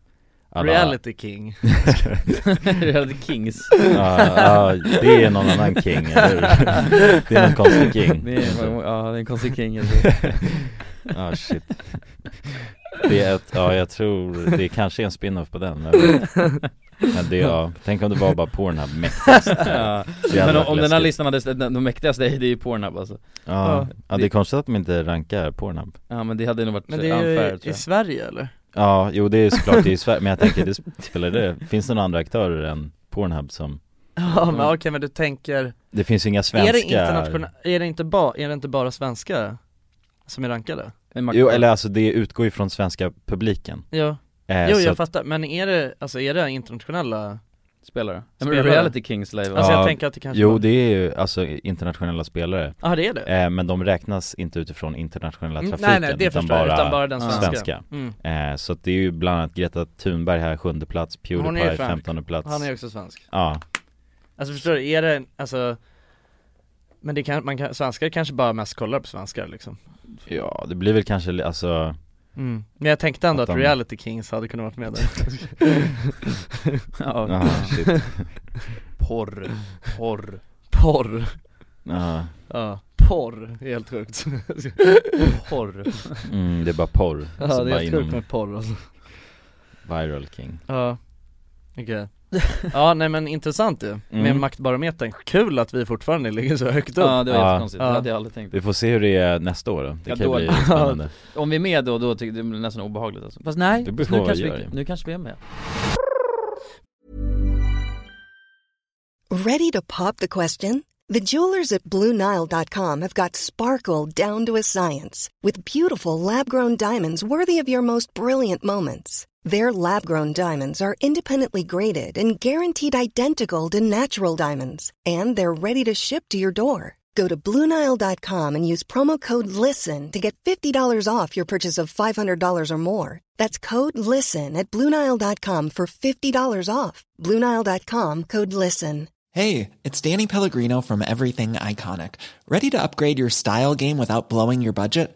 C: alla-
E: reality king
D: Reality Kings.
C: ja, ja, det är någon annan king, eller hur? Det är någon konstig king
D: Det är, ja, det är en konstig king alltså.
C: Ja Ah, shit Det är ett, ja jag tror, det kanske är en spin-off på den men, men det, ja, tänk om det var bara Pornhub mäktigast Ja,
D: ja. Men om, om den här listan hade, st- den- de mäktigaste, är det är ju Pornhub alltså.
C: ja, ja, det
D: det-
C: är konstigt att de inte rankar Pornhub
D: Ja men det hade nog varit
E: Men det är
D: unfair
E: ju
D: tror
E: i, i
D: jag.
E: Sverige eller?
C: Ja, jo det är såklart det är i Sverige, men jag tänker det spelar det, finns det några andra aktörer än Pornhub som
E: Ja men okej men du tänker,
C: Det finns ju inga svenska
E: är det internationellt, är det inte bara, är det inte bara svenska som är rankade?
D: En mack-
C: Jo eller alltså det utgår ju från svenska publiken
E: Ja,
C: eh,
E: jo
C: så
E: jag
C: att-
E: fattar, men är det, alltså är det internationella?
D: Spelare. Ja,
E: Spelare.
D: men Reality Kings live
E: Alltså
C: Ja,
E: jag tänker att det kanske
C: Jo
E: bara-
C: det är ju alltså internationella spelare,
E: ah, det är det?
C: eh, men de räknas inte utifrån internationella
E: Mm,
C: trafiken
E: nej nej det
C: utan,
E: förstår jag,
C: bara
E: utan bara den
D: ja.
E: svenska,
C: svenska.
E: Mm.
C: Eh, så att det är ju bland annat Greta Thunberg här, sjunde plats,
E: Hon är
C: Pewdiepie,
E: ju fransk.
C: femtonde plats
E: Han är också svensk
C: Ja,
E: Alltså förstår du, är det, alltså Men det kan, man kan, svenskar kanske bara mest kollar på svenskar liksom
C: ja det blir väl kanske, li- alltså
E: mm. Men jag tänkte ändå
C: Att
E: att,
C: de-
E: Reality Kings hade kunnat varit med där
D: Ja.
C: ja, shit
D: Porr, porr,
E: Porr
C: ja,
E: Ja, porr, det är helt sjukt
D: porr.
C: mm, det är bara porr,
E: Ja
C: så
E: det är
C: bara
E: helt sjukt
C: inom
E: med porr alltså
C: viral king
E: Ja, okej Ja nej men intressant ju, med
C: Mm.
E: maktbarometern, kul att vi fortfarande ligger så högt upp
D: Ja det var
C: Ja.
D: jättekonstigt,
E: Ja.
D: det hade jag aldrig tänkt.
C: Vi får se hur det är nästa år då, det
D: Ja,
C: kan
D: då-
C: bli spännande
D: Om vi är med då, då tycker det blir nästan obehagligt alltså. Fast nej,
C: Det
D: nu
C: beror på vad vi
D: kanske,
C: gör,
D: vi,
C: ju.
D: nu kanske vi är med.
A: Ready to pop the question? The jewelers at BlueNile.com have got sparkle down to a science with beautiful lab grown diamonds worthy of your most brilliant moments. Their lab grown diamonds are independently graded and guaranteed identical to natural diamonds, and they're ready to ship to your door. Go to BlueNile.com and use promo code LISTEN to get $50 off your purchase of $500 or more. That's code LISTEN at BlueNile.com for $50 off. BlueNile.com code LISTEN.
B: Hey, it's Danny Pellegrino from Everything Iconic. Ready to upgrade your style game without blowing your budget?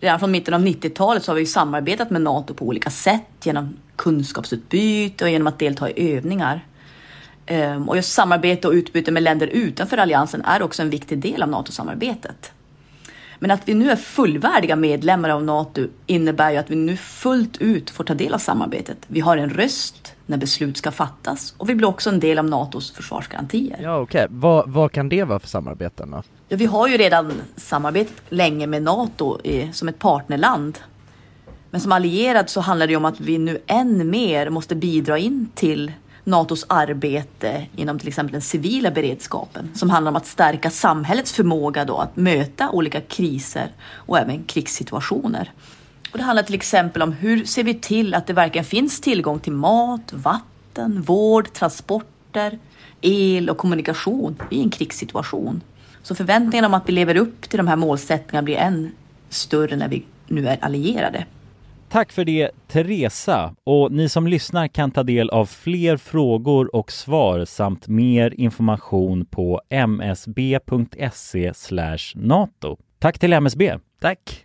K: Redan från mitten av 90-talet så har vi ju samarbetat med NATO på olika sätt genom kunskapsutbyte och genom att delta i övningar. Ehm, Och just samarbete och utbyte med länder utanför alliansen är också en viktig del av NATO-samarbetet. Men att vi nu är fullvärdiga medlemmar av NATO innebär ju att vi nu fullt ut får ta del av samarbetet. Vi har en röst när beslut ska fattas och vi blir också en del av NATOs försvarsgarantier.
E: Ja okej, vad, vad kan det vara för samarbeten då?
K: Ja, vi har ju redan samarbetat länge med NATO i, som ett partnerland. Men som allierad så handlar det ju om att vi nu än mer måste bidra in till NATOs arbete inom till exempel den civila beredskapen som handlar om att stärka samhällets förmåga då att möta olika kriser och även krigssituationer. Och det handlar till exempel om hur ser vi till att det verkligen finns tillgång till mat, vatten, vård, transporter, el och kommunikation i en krigssituation. Så förväntningarna om att vi lever upp till de här målsättningarna blir än större när vi nu är allierade.
C: Tack för det Teresa och ni som lyssnar kan ta del av fler frågor och svar samt mer information på msb.se E nato. Tack till MSB. Tack.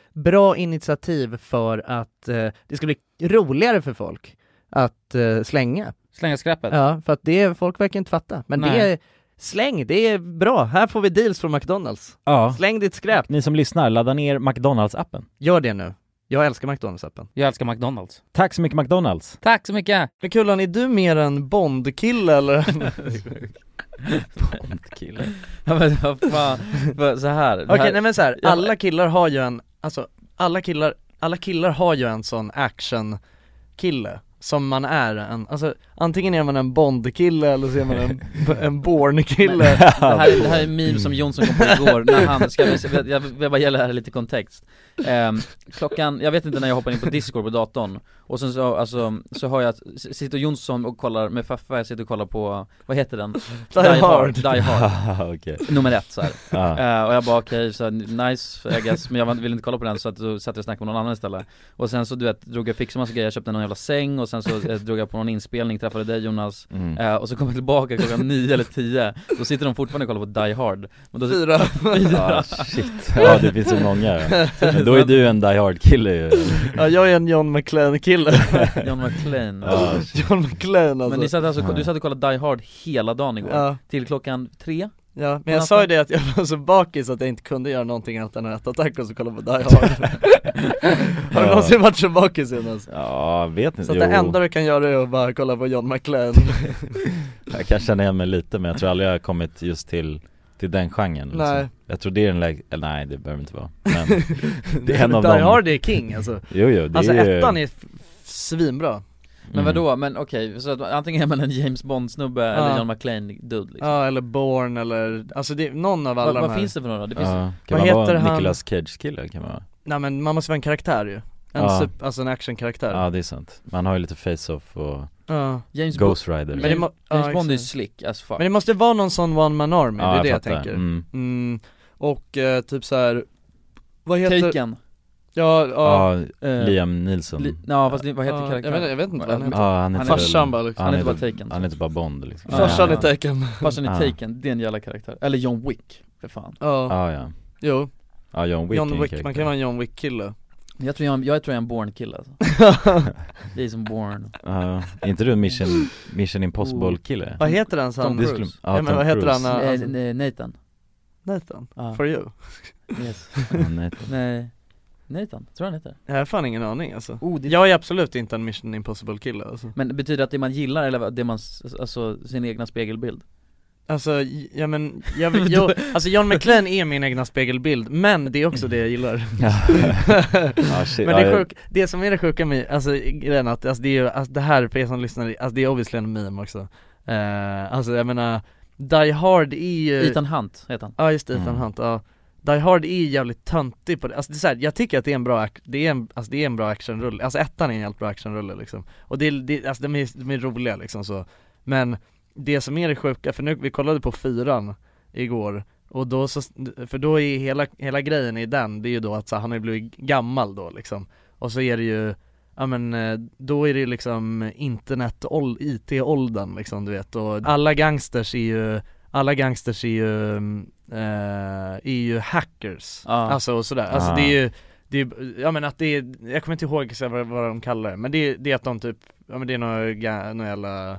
E: bra initiativ för att eh, det ska bli roligare för folk att eh, slänga
D: Slänga skräpet?
E: Ja, för att det, är- folk verkar inte fatta, men det
D: Nej.
E: är Släng, det är bra. Här får vi deals från McDonalds.
C: Ja.
E: Släng ditt skräp.
C: Ni som lyssnar, ladda ner McDonalds-appen.
E: Gör det nu. Jag älskar McDonalds-appen.
D: Jag älskar McDonalds.
C: Tack så mycket McDonalds.
D: Tack så mycket!
E: Men Kullan, är du mer en Bondkille eller?
D: Kille. ja men vad fan, vad- så här. det
E: Okej,
D: här-
E: nej men så här,
D: Ja.
E: alla killar har ju en, alltså alla killar, alla killar har ju en sån action-kille som man är en, alltså antingen är man en Bond-kille eller så är man en, en Bourne-kille
D: Det här, är- det här är en meme
E: Mm.
D: som Jonsson kom på igår när han, ska vi, jag vill bara ge det här lite kontext Ehm, Klockan, jag vet inte när jag hoppar in på Discord på datorn Och sen så, alltså, så har jag, att- s- sitter Jonsson och kollar med Faffa, jag sitter och kollar på, vad heter den?
E: Die Hard.
D: Die Hard
C: Okej.
D: Nummer ett såhär
C: Ja.
D: Eh, Och jag bara okej, så nice I guess, men jag ville inte kolla på den så att då satt jag och snackade med någon annan istället Och sen så du vet, drog jag fixa massa grejer, jag köpte någon jävla säng och sen så eh, drog jag på någon inspelning, träffade dig Jonas
C: Mm.
D: Eh, Och så kom jag tillbaka klockan nio eller tio, då sitter de fortfarande och kollar på Die Hard Men då,
E: Fyra.
D: Fyra
C: Ah, shit. Ja det finns så många. ja. Men då är du en Die Hard-kille ju.
E: Ja jag är en John McClane-kille
D: John McClane
C: Ja.
E: John McClane alltså
D: Men ni satt alltså, du satt och kollade Die Hard hela dagen igår,
E: Ja.
D: till klockan tre?
E: Ja, men jag sa ju det att jag var så bakis att jag inte kunde göra någonting annat än att äta tacos och kolla på Die Hard Har du någonsin varit så bakis Jonas?
C: Ja, vet inte,
E: Så att det
C: Jo.
E: enda du kan göra är att bara kolla på John McClane
C: Jag kan känna igen mig lite men jag tror aldrig jag har kommit just till, till den genren liksom.
E: Nej.
C: Jag tror det är den lägre, eller nej det behöver det inte vara Men
E: Det är en av Die Hard är king alltså
C: Jo, jo, det
E: Alltså
C: är ju-
E: ettan är f- svinbra Mm.
D: Men vadå, men okej, så att antingen är man en James Bond-snubbe eller
E: Ja.
D: John McClane-dude liksom.
E: Ja eller Born eller, alltså det är någon av alla
D: Vad-
E: de
D: vad
E: här.
D: finns det för några? Det
C: Mm. Ja, kan
E: Vad
C: man vara
E: heter
C: en
E: han?
C: Nicolas Cage kille kan man vara?
E: Nej men man måste vara en karaktär ju En
C: Ja.
E: sup- alltså en actionkaraktär
C: Ja det är sant, man har ju lite face-off och
E: Ja. James
C: Ghost
E: Bo-
C: Rider
E: Men det må- ja, James Bond är ju exakt.
D: slick as fuck
E: Men det måste vara någon sån one man army,
C: Ja,
E: det är
C: jag
E: det jag
C: fattar.
E: tänker
C: Mm.
E: Mm. Och eh, typ så här. vad heter
D: Taken. eh,
E: Ja, ja, eh,
C: Ja, Liam Neeson
D: Li- ja, fast det- vad heter
E: Ja,
D: karaktären?
E: jag vet- jag vet inte vad han heter.
C: Ja, han
E: Han
C: heter
E: är- Farsan bara, liksom.
C: han
E: Han
C: heter
E: heter
D: bara Taken.
C: Han heter bara Bond liksom
E: Farsan
C: Ja.
E: är Taken
D: Farsan är
C: Ja.
D: Taken, det är en jävla karaktär. Eller John Wick, för fan.
E: Ja,
C: Ja ja
E: jo
C: Ja John Wick, är
E: John
C: en
E: Wick, man
C: karaktär.
E: kan vara en John Wick-kille
D: Jag tror jag, jag tror jag är en Born-kille alltså. Det är som Born.
C: Ja, är inte du en Mission,
E: Oh.
C: Mission Impossible kille?
E: Vad heter han så
D: Tom
E: han-
C: Det skulle- ja,
E: Nej, men
C: Tom
E: vad heter han?
C: Cruise.
D: Eh,
E: Alltså,
D: n- Nathan.
E: Nathan?
D: Ja.
E: For you?
D: Yes.
C: Ja, nej.
D: Nej. Nathan, tror jag han heter.
E: Jag har fan ingen aning alltså
D: Oh, det-
E: Jag är absolut inte en Mission Impossible kille alltså
D: Men det betyder att det man gillar eller vad- det man, s- alltså sin egna spegelbild?
E: Alltså, j- ja men, jag, vill- jag, alltså John McClane är min egna spegelbild, men det är också det jag gillar
C: Ja. Ja, shit.
E: Men det,
C: Ja,
E: är
C: jag-
E: sjuk, det som är det sjuka med, alltså grejen är att, alltså, det är ju, alltså, det här för er som lyssnar, alltså det är obviously en meme också Eh, Alltså jag menar, Die Hard är ju
D: Ethan Hunt heter han.
E: Ja just det, Ethan
C: Mm.
E: Hunt, ja Die Hard är ju jävligt töntig på det, alltså det är så här, jag tycker att det är en bra, ac- det är en, alltså det är en bra actionrulle, alltså ettan är en jävligt bra actionrulle liksom Och det, är- det alltså de är, de är roliga liksom så Men det som är det sjuka, för nu, vi kollade på fyran igår och då så, för då är hela, hela grejen i den, det är ju då att så, här, han har ju blivit gammal då liksom Och så är det ju, ja men eh, då är det ju liksom internet, ål- IT-åldern liksom du vet och alla gangsters är ju, alla gangsters är ju, mm, eh, är ju hackers
D: Ja.
E: Alltså och sådär, alltså
C: Ah.
E: det är ju det är, ja men att det är, jag kommer inte ihåg exakt vad, vad de kallar det, men det är, det är att de typ, ja men det är några, ga- några jävla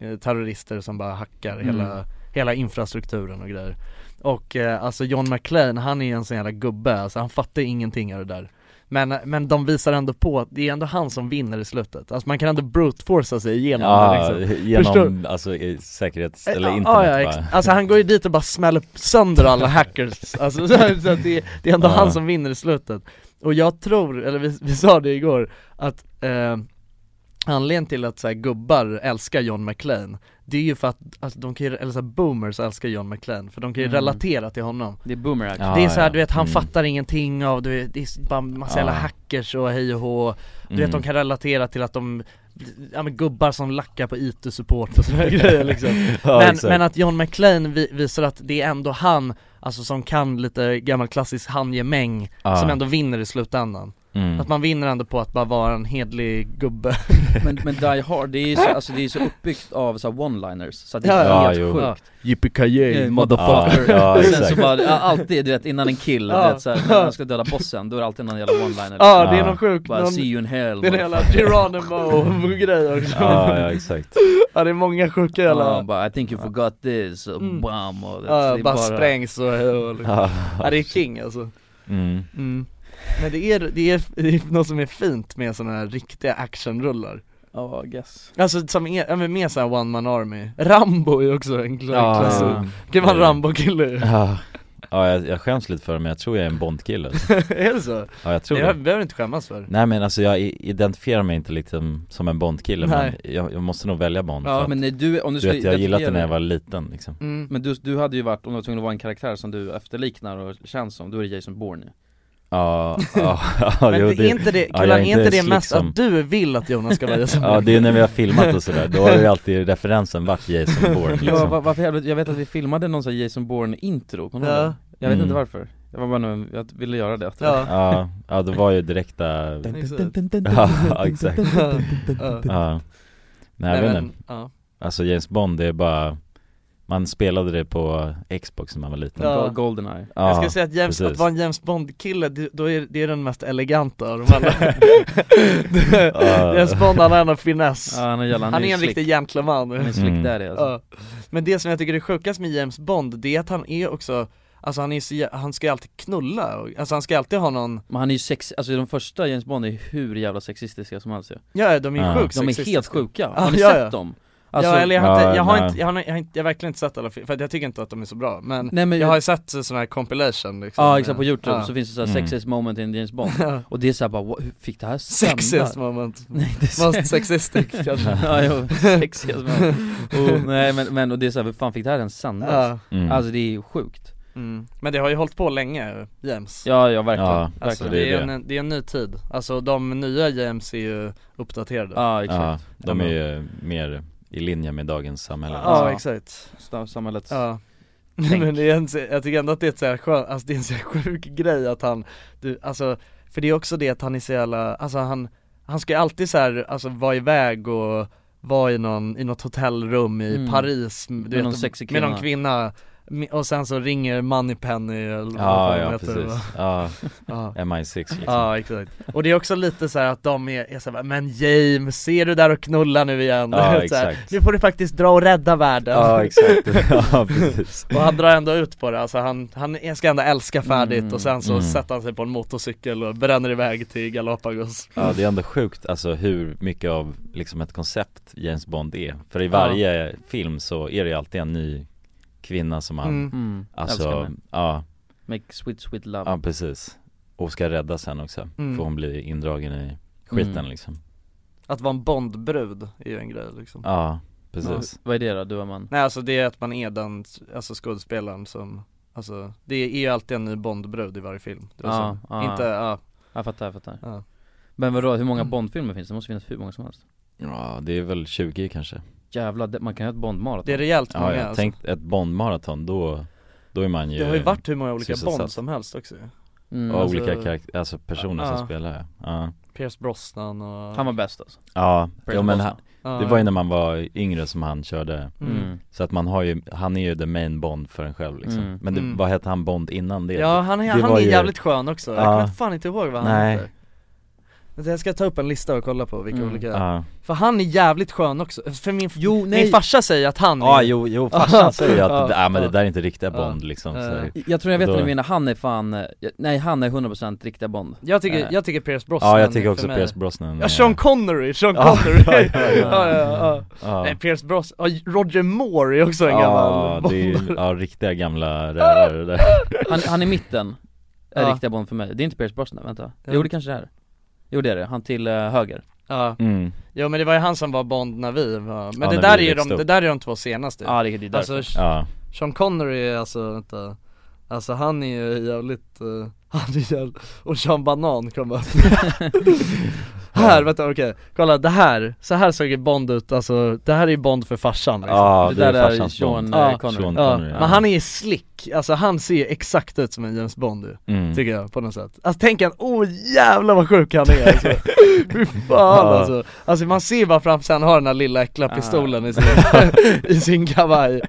E: eh, terrorister som bara hackar hela, hela infrastrukturen och grejer Och eh, alltså John McClane, han är ju en sån jävla gubbe, alltså han fattar ingenting av det där men, men de visar ändå på att det är ändå han som vinner i slutet, alltså man kan ändå brute-forca sig igenom det
C: Ja,
E: liksom
C: genom
E: Förstår-
C: alltså i säkerhets,
E: Ja,
C: eller
E: Eh, ja,
C: internet
E: ja,
C: bara
E: ex- Alltså han går ju dit och bara smäller sönder alla hackers, alltså så, så att det, det är ändå
C: Ja.
E: han som vinner i slutet Och jag tror, eller vi, vi sa det igår, att eh, anledningen till att så här, gubbar älskar John McClane det är ju för att, alltså, de kan ju, eller så här, boomers älskar John McClane, för de kan ju
D: Mm.
E: relatera till honom
D: Det är Boomer Action.
C: Ja,
E: det är så här,
C: ja.
E: du vet han
C: Mm.
E: fattar ingenting av, du vet, det är bara massa jävla
C: Ja.
E: hackers och hej och hå Du
C: Mm.
E: vet de kan relatera till att de, ja men gubbar som lackar på IT-support och sådana grejer liksom
C: Ja,
E: men,
C: exakt.
E: men att John McClane vi, visar att det är ändå han, alltså som kan lite gammal klassisk handgemäng
C: Ja.
E: Som ändå vinner i slutändan
C: mm.
E: Att man vinner ändå på att bara vara en hedlig gubbe
D: Men, men Die Hard, det är ju så, alltså, det är så uppbyggt av så här one-liners, så att det
E: Ja,
D: är
C: ja.
D: helt
C: Ja, jo.
D: sjukt.
E: Ja.
D: Yeah,
E: Yippee-ki-yay,
C: motherfucker. Ja, ja,
D: och sen så
C: exakt.
D: bara, ja, alltid du vet innan en kill,
E: Ja.
D: du vet, så här, när han ska döda bossen, då är det alltid någon jävla one-liner Liksom.
E: Ja det är
C: Ja.
E: någon sjuk,
D: Bara
E: någon,
D: see you in hell
E: det är en jävla Geronimo-grej också
C: ja, ja exakt
E: Ja det är många sjuka
D: motherfucker.
E: jävla
D: Ja, bara, I think you forgot this, och
E: Mm.
D: bam och det,
E: Ja,
D: är
E: bara, sprängs och, och liksom.
C: Ja,
E: Ja det är king alltså
C: mm.
E: Men det är, det, är, det är något som är fint med sådana här riktiga actionrullar
D: Ja, I guess
E: Alltså som är, ja, men med såhär one man army Rambo är ju också en klar
C: Ja,
E: klass
C: ja.
E: Kan vara en Rambo-kille,
C: Alltså, Ja, ja jag, jag skäms lite för det men jag tror jag är en Bond-kille alltså.
E: är det så?
C: Ja jag tror
E: Det här
C: det
E: behöver du inte skämmas för
C: Nej men alltså jag i- identifierar mig inte liksom som en Bond-kille men
E: Nej.
C: jag, jag måste nog välja Bond
E: Ja,
C: för att,
D: Men när du, om du
C: Du
D: skulle
C: vet jag gillat det när jag
D: identifiera-
C: var liten liksom
E: mm.
D: Men du, du hade ju varit, om du var tvungen att vara en karaktär som du efterliknar och känns som, då är det Jason Bourne ju.
C: Ja, ja, ja
E: Men
C: jo,
E: det är inte det,
C: ja,
E: Kulla,
C: jag
E: är inte det mest
C: liksom-
E: att du vill att Jonas ska vara Jason
C: Ja det är när vi har filmat och sådär, då har ju alltid referensen varit Jason Bourne
D: Ja,
C: liksom.
D: va- varför jag, jag vet att vi filmade någon sån här Jason Bourne intro, kommer du ihåg
E: Ja.
D: det? Jag vet
C: Mm.
D: inte varför, jag var bara nu, jag ville göra det
E: Ja,
C: Ja, ja det var ju direkta,
E: exakt.
C: ja exakt,
E: Ja.
C: ja Nej
E: Nej,
C: jag vet
E: men,
C: inte,
E: ja.
C: alltså James Bond det är bara Man spelade det på Xbox när man var liten
E: Ja.
D: Goldeneye.
E: Jag skulle säga att, James,
C: precis.
E: att vara en James Bond-kille, det- då är det är den mest eleganta av de alla
C: Ja.
E: James Bond han har en finess
D: Ja, han är jävla- han är ju
E: en
D: slick.
E: riktig gentleman
D: Han är slick Mm. där, alltså.
E: Ja. Men det som jag tycker är sjukast med James Bond, det är att han är också Alltså han är så, jä- han ska ju alltid knulla, och- alltså han ska alltid ha någon
D: Men han är ju sex, alltså de första James Bond är ju hur jävla sexistiska som helst ju.
E: Ja de är ju
D: Ja.
E: sjukt
D: De är
E: sexistiska.
D: helt sjuka. Har ni sett dem? Alltså-
E: ja, eller jag har, inte,
D: Ja,
E: jag, har
D: nej.
E: inte, jag, har, jag, har inte, jag har verkligen inte sett alla filmer, för att jag tycker inte att de är så bra men,
D: Nej, men
E: jag
D: jag-
E: har ju sett så- sån här compilation liksom
D: Ja exakt, på youtube
E: Ja. Mm.
D: så finns det såhär sexiest moment in James Bond
E: Ja.
D: Och det är såhär bara, "What- hur fick det här sändas?
E: Sexiest moment,
D: Nej, det är
E: most sexistic kanske
D: ja, jo, sexiest moment oh, Nej men, men och det är såhär, hur fan fick det här ens sändas?
E: Ja. Mm.
D: Alltså det är ju sjukt
E: Mm. Men det har ju hållit på länge, James
D: Ja, ja, verkligen.
C: Ja,
E: alltså,
C: verkligen.
E: det,
C: det
E: är
C: är det.
E: en, det är en ny tid, alltså de nya James är ju uppdaterade
C: ja, De är ju mer i linje med dagens samhälle
E: Ja, exakt
D: Sta- Samhällets
E: Ja
D: tänk.
E: Men det är en, så- jag tycker ändå att det är ett så här skön, alltså det är en så här sjuk grej att han, du, alltså För det är också det att han är så jävla, alltså han, han ska ju alltid så här, alltså vara iväg och vara i någon, i något hotellrum i
D: Mm.
E: Paris du
D: Med någon sexig
E: Med någon kvinna Mi- och sen så ringer Moneypenny eller vad
C: Ja,
E: fan
C: ja
E: heter det, va?
C: precis, ja,
E: Ja.
C: MI6 liksom
E: Ja exakt, och det är också lite så här att de är, är så här, men James, ser du där och knullar nu igen?
C: Ja,
E: Så här,
C: exakt.
E: Nu får du faktiskt dra och rädda världen
C: Ja, exakt. Ja, precis.
E: Och han drar ändå ut på det, alltså han, han ska ändå älska färdigt
C: Mm,
E: och sen så
C: mm.
E: sätter han sig på en motorcykel och bränner iväg till Galapagos
C: Ja det är ändå sjukt alltså hur mycket av liksom ett koncept James Bond är För i varje film så är det ju alltid en ny kvinna som han,
D: Mm. Mm. Älskar
C: alltså,
D: henne.
C: ja
D: Make sweet sweet love
C: Ja precis, och ska räddas sen också,
E: Mm.
C: för hon blir indragen i skiten
D: Mm.
C: liksom
E: Att vara en Bondbrud är ju en grej liksom
C: Ja, precis
D: Vad är det då, du och man?
E: Nej alltså det är att man är den, alltså skådespelaren som, alltså det är ju alltid en ny Bondbrud i varje film det var
D: Ja,
E: så.
D: ja.
E: Inte, ja
D: Jag fattar, jag fattar
E: Ja. Mm.
D: Men vadå, hur många Bondfilmer finns det? Det måste finnas hur många som helst
C: Ja det är väl 20 kanske
D: Jävlar, det- man kan göra ett Bondmaraton
E: Det är rejält
C: Ja
E: många
C: jag
E: alltså.
C: tänkt ett Bond-maraton då, då är man ju
E: Det har ju varit hur många olika
C: sysselsatt.
E: Bond som helst också ju.
D: Mm.
C: Och
E: Alltså-
C: olika karaktär, alltså personer
E: Ja.
C: som spelar ja
E: Pierce Brosnan och
D: Han var bäst alltså
C: Ja,
D: Percy
C: jo, men
D: Bosman.
C: han, det var ju när man var yngre som han körde
D: Mm.
C: Så att man har ju, han är ju the main Bond för en själv liksom
D: Mm.
C: Men det,
E: Mm.
C: vad hette han Bond innan det?
E: Ja han
C: det
E: är, han
C: var
E: är
C: ju-
E: jävligt skön också, jag
C: Ja.
E: kommer fan inte ihåg vad han
C: Nej.
E: heter Vänta, Jag ska ta upp en lista och kolla på vilka
C: Mm.
E: olika,
C: Ja.
E: för han är jävligt skön också, för min,
D: Jo,
E: min farsa säger att han
C: Ja jo, jo farsan säger ju att, ja, men det där är inte riktiga Bond liksom så. här.
D: Jag tror jag vet
C: Och
D: vad
C: då-
D: du menar, han är fan, eh, nej han är 100% riktiga Bond
E: Jag tycker,
D: Eh.
E: jag tycker Pierce Brosnan
C: Ja jag tycker
E: är
C: också
E: för mig-
C: Pierce Brosnan
E: Ja Sean Connery, Sean
C: Ja,
E: Connery!
C: ja, ja, ja.
E: ja, ja, ja.
C: Ja.
E: Nej Pierce Brosnan, ja, Roger Moore är också en gammal
C: Ja det är ju,
E: bondare.
C: ja riktiga gamla rövare det där
D: Han, han i mitten, är
E: Ja.
D: riktiga Bond för mig, det är inte Pierce Brosnan, vänta
E: Ja.
D: Jo det kanske det är Jo det är det, han till eh, höger
E: Ja.
C: Mm.
E: Jo men det var ju han som var Bond när vi var, men
D: Ja,
E: det,
D: när
E: där är
D: vi
E: ju de,
D: växte
E: det
D: upp.
E: där är de två senaste
D: Ja, Ah, det- det är därför.
E: Alltså,
C: Ja.
E: Sean Connery är alltså, vänta Alltså han är ju jävligt, eh, han är jävligt, och Sean Banan kommer upp Här, vänta okej, kolla det här, så här såg ju Bond ut, alltså det här är ju Bond för farsan liksom.
C: Ja, Det det är där är farsans Sean, Bond. eh,
E: Ja,
C: Connery. Sean
E: ja.
C: Connery, ja.
E: Men han är slick, alltså han ser ju exakt ut som en James Bond ju,
C: Mm.
E: tycker jag på något sätt Alltså tänk en, oh jävlar vad sjuk han är alltså. Fy fan
C: Ja.
E: alltså Alltså man ser bara framför sig, han har den där lilla äckla pistolen i sin, i sin kavaj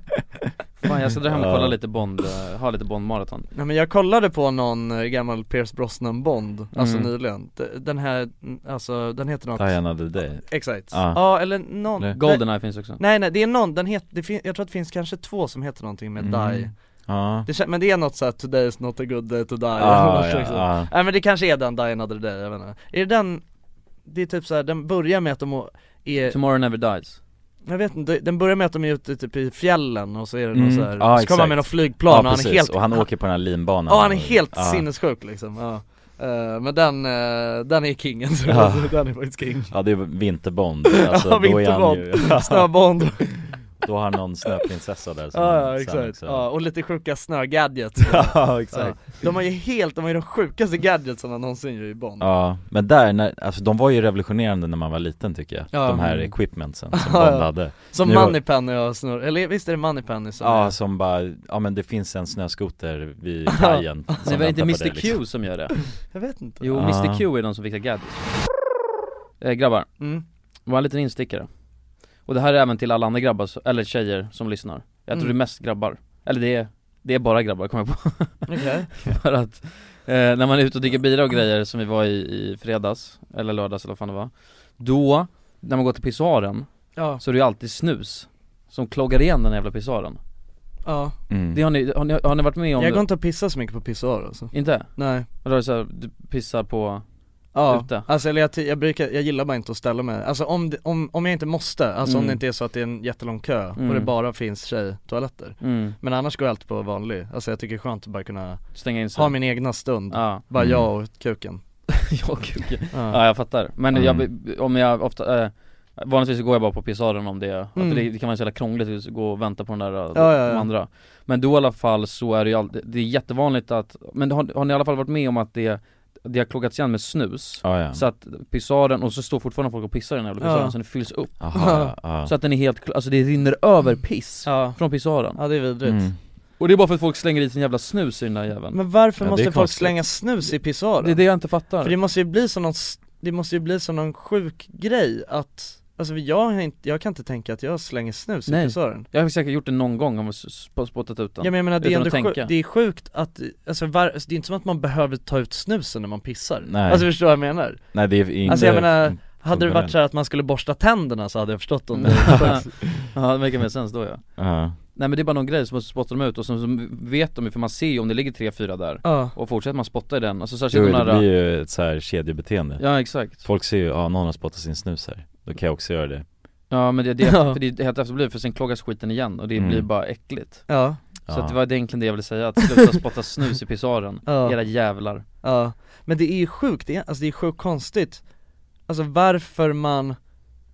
D: Fan jag ska dra hem och
E: Ja.
D: kolla lite Bond, eh, ha lite Bond-maraton
E: Nej men jag kollade på någon eh, gammal Pierce Brosnan Bond, alltså
C: Mm.
E: nyligen D- Den här, mm, alltså den heter något
C: Diana the Day
E: Exakt, ja
C: Ja.
E: eller någon
C: Nej.
D: Goldeneye finns också.
E: Nej nej det är någon, den heter, det fin- jag tror att det finns kanske två som heter någonting med
C: Mm.
E: Die
C: Ja.
E: det, kän- Men det är något såhär, today is not a good day to die
C: Ja,
E: eller något
C: ja,
E: också.
C: ja.
E: Nej men det kanske är den Die another day, jag vet inte Är det den, det är typ såhär, den börjar med att de å- är
D: Tomorrow never dies
E: jag vet inte, den börjar med att de är ute typ i fjällen och så är det någon
C: Mm.
E: så här,
C: Ja,
E: så kommer
C: exakt.
E: han med något flygplan
C: Ja,
E: och han är
C: precis.
E: helt
C: Och han åker på den här linbanan
E: Ja han är helt
C: Ja.
E: sinnessjuk liksom, ja Eh, Men den, eh, den är kingen tror
C: Ja.
E: jag, den är faktiskt king
C: Ja det är vinterbond, alltså,
E: Ja,
C: då är han
E: vinterbond.
C: ju
E: Snöbond.
C: Då har han någon snöprinsessa där som
E: Ja,
C: han
E: ja
C: sen
E: exakt,
C: också-
E: ja, och lite sjuka snögadgets
C: Ja, exakt.
E: De har ju helt, de har ju de sjukaste gadgetsen man någonsin gör i Bond
C: Ja, men där, när, alltså de var ju revolutionerande när man var liten tycker jag
E: Ja.
C: De här
E: Mm.
C: equipmentsen som
E: Ja,
C: Bond
E: ja.
C: hade
E: Som
C: Nu har-
E: Moneypenny och snurr, eller visst är det Moneypenny som
C: Ja,
E: är-
C: som bara, ja men det finns en snöskoter vid kajen som
D: Nej var det inte
C: väntar på
D: Mr
C: dig, liksom.
D: Q som gör det?
E: Jag vet inte
D: Jo,
C: Ah.
D: Mr Q är de som fixar gadgets eh, Grabbar,
E: Mm.
D: var en liten instickare Och det här är även till alla andra grabbar, så- eller tjejer som lyssnar Jag tror
J: Mm.
D: det är mest grabbar, eller det är, det är bara grabbar kommer jag på
E: Okej.
D: För att eh, när man är ute och dricker bira och grejer som vi var i, i fredags, eller lördags eller vad fan det var Då, när man går till pissoaren,
E: Ja.
D: så är det ju alltid snus som kloggar igen den jävla pissoaren
E: Ja.
L: Mm.
D: Det har ni, har ni, har ni varit med om
E: Jag
D: det?
E: går inte och pissar så mycket på pissoar alltså
D: Inte?
E: Nej
D: Eller är det så här, du pissar på
E: Ja,
D: ute?
E: alltså eller jag, ty- jag brukar, jag gillar bara inte att ställa mig, alltså om, det- om, om jag inte måste, alltså om
D: Mm.
E: det inte är så att det är en jättelång kö
D: Mm.
E: och det bara finns tjejtoaletter
D: Mm.
E: Men annars går jag alltid på vanlig, alltså jag tycker det är skönt att bara kunna
D: Stänga in sig.
E: ha min egna stund,
D: Ja.
E: bara
D: Mm.
E: jag och kuken
D: Jag och kuken.
E: Ja.
D: Ja jag fattar, men
E: Mm.
D: jag, om jag ofta, eh, vanligtvis så går jag bara på pissoaren om det,
E: Mm.
D: att det, det kan vara så jävla krångligt att gå och vänta på den där, eh,
E: Ja, ja, ja.
D: de andra Men då i alla fall så är det ju alltid, det är jättevanligt att, men har, har ni i alla fall varit med om att det det har kloggats igen med snus,
L: Ja, ja.
D: så att pissoaren, och så står fortfarande folk och pissar i den här jävla
E: Ja.
D: pissoaren så den fylls upp
L: Aha, ja, ja.
D: Så att den är helt, kl- alltså det rinner över piss från pissoaren
E: Ja det är vidrigt
L: Mm.
D: Och det är bara för att folk slänger i sin jävla snus i den där jäveln
E: Men varför
D: Ja, det är
E: måste folk
D: konstigt.
E: slänga snus i pissoaren?
D: Det är det jag inte fattar
E: För det måste ju bli som någon, s- det måste ju bli som någon sjuk grej att, alltså jag, har inte, jag kan inte tänka att jag slänger snus i
D: Nej.
E: pissoaren
D: Jag har säkert gjort det någon gång om jag s- sp- spottat ut den
E: Ja men jag menar det är
D: Utan
E: ändå
D: att
E: sjukt,
D: tänka.
E: det är sjukt att, alltså var, alltså, det är inte som att man behöver ta ut snusen när man pissar
L: Nej.
E: Alltså förstår du vad jag menar?
L: Nej det är inte
E: Alltså jag menar, hade det varit
L: funktionellt.
E: så här att man skulle borsta tänderna så hade jag förstått om det
D: Ja det verkar mer sens då ja
L: Ja.
D: Nej men det är bara någon grej som spottar de ut och sen så vet de ju för man ser ju om det ligger 3-4 där
E: Ja.
D: Och fortsätter man spotta i den, alltså
L: Jo,
D: särskilt de
L: det
D: här
L: blir ju ett så här kedjebeteende
D: Ja, exakt.
L: Folk ser ju, ja någon har spottat sin snus här, då kan jag också göra det
D: Ja men det, det,
E: Ja.
D: för det är helt efterblivet för sen kloggas skiten igen och det
L: Mm.
D: blir bara äckligt
E: Ja.
D: Så
E: Ja.
D: att det var det egentligen det jag ville säga, att sluta spotta snus i pissoaren,
E: Ja.
D: era jävlar
E: Ja, men det är ju sjukt, det är, alltså det är sjukt konstigt Alltså varför man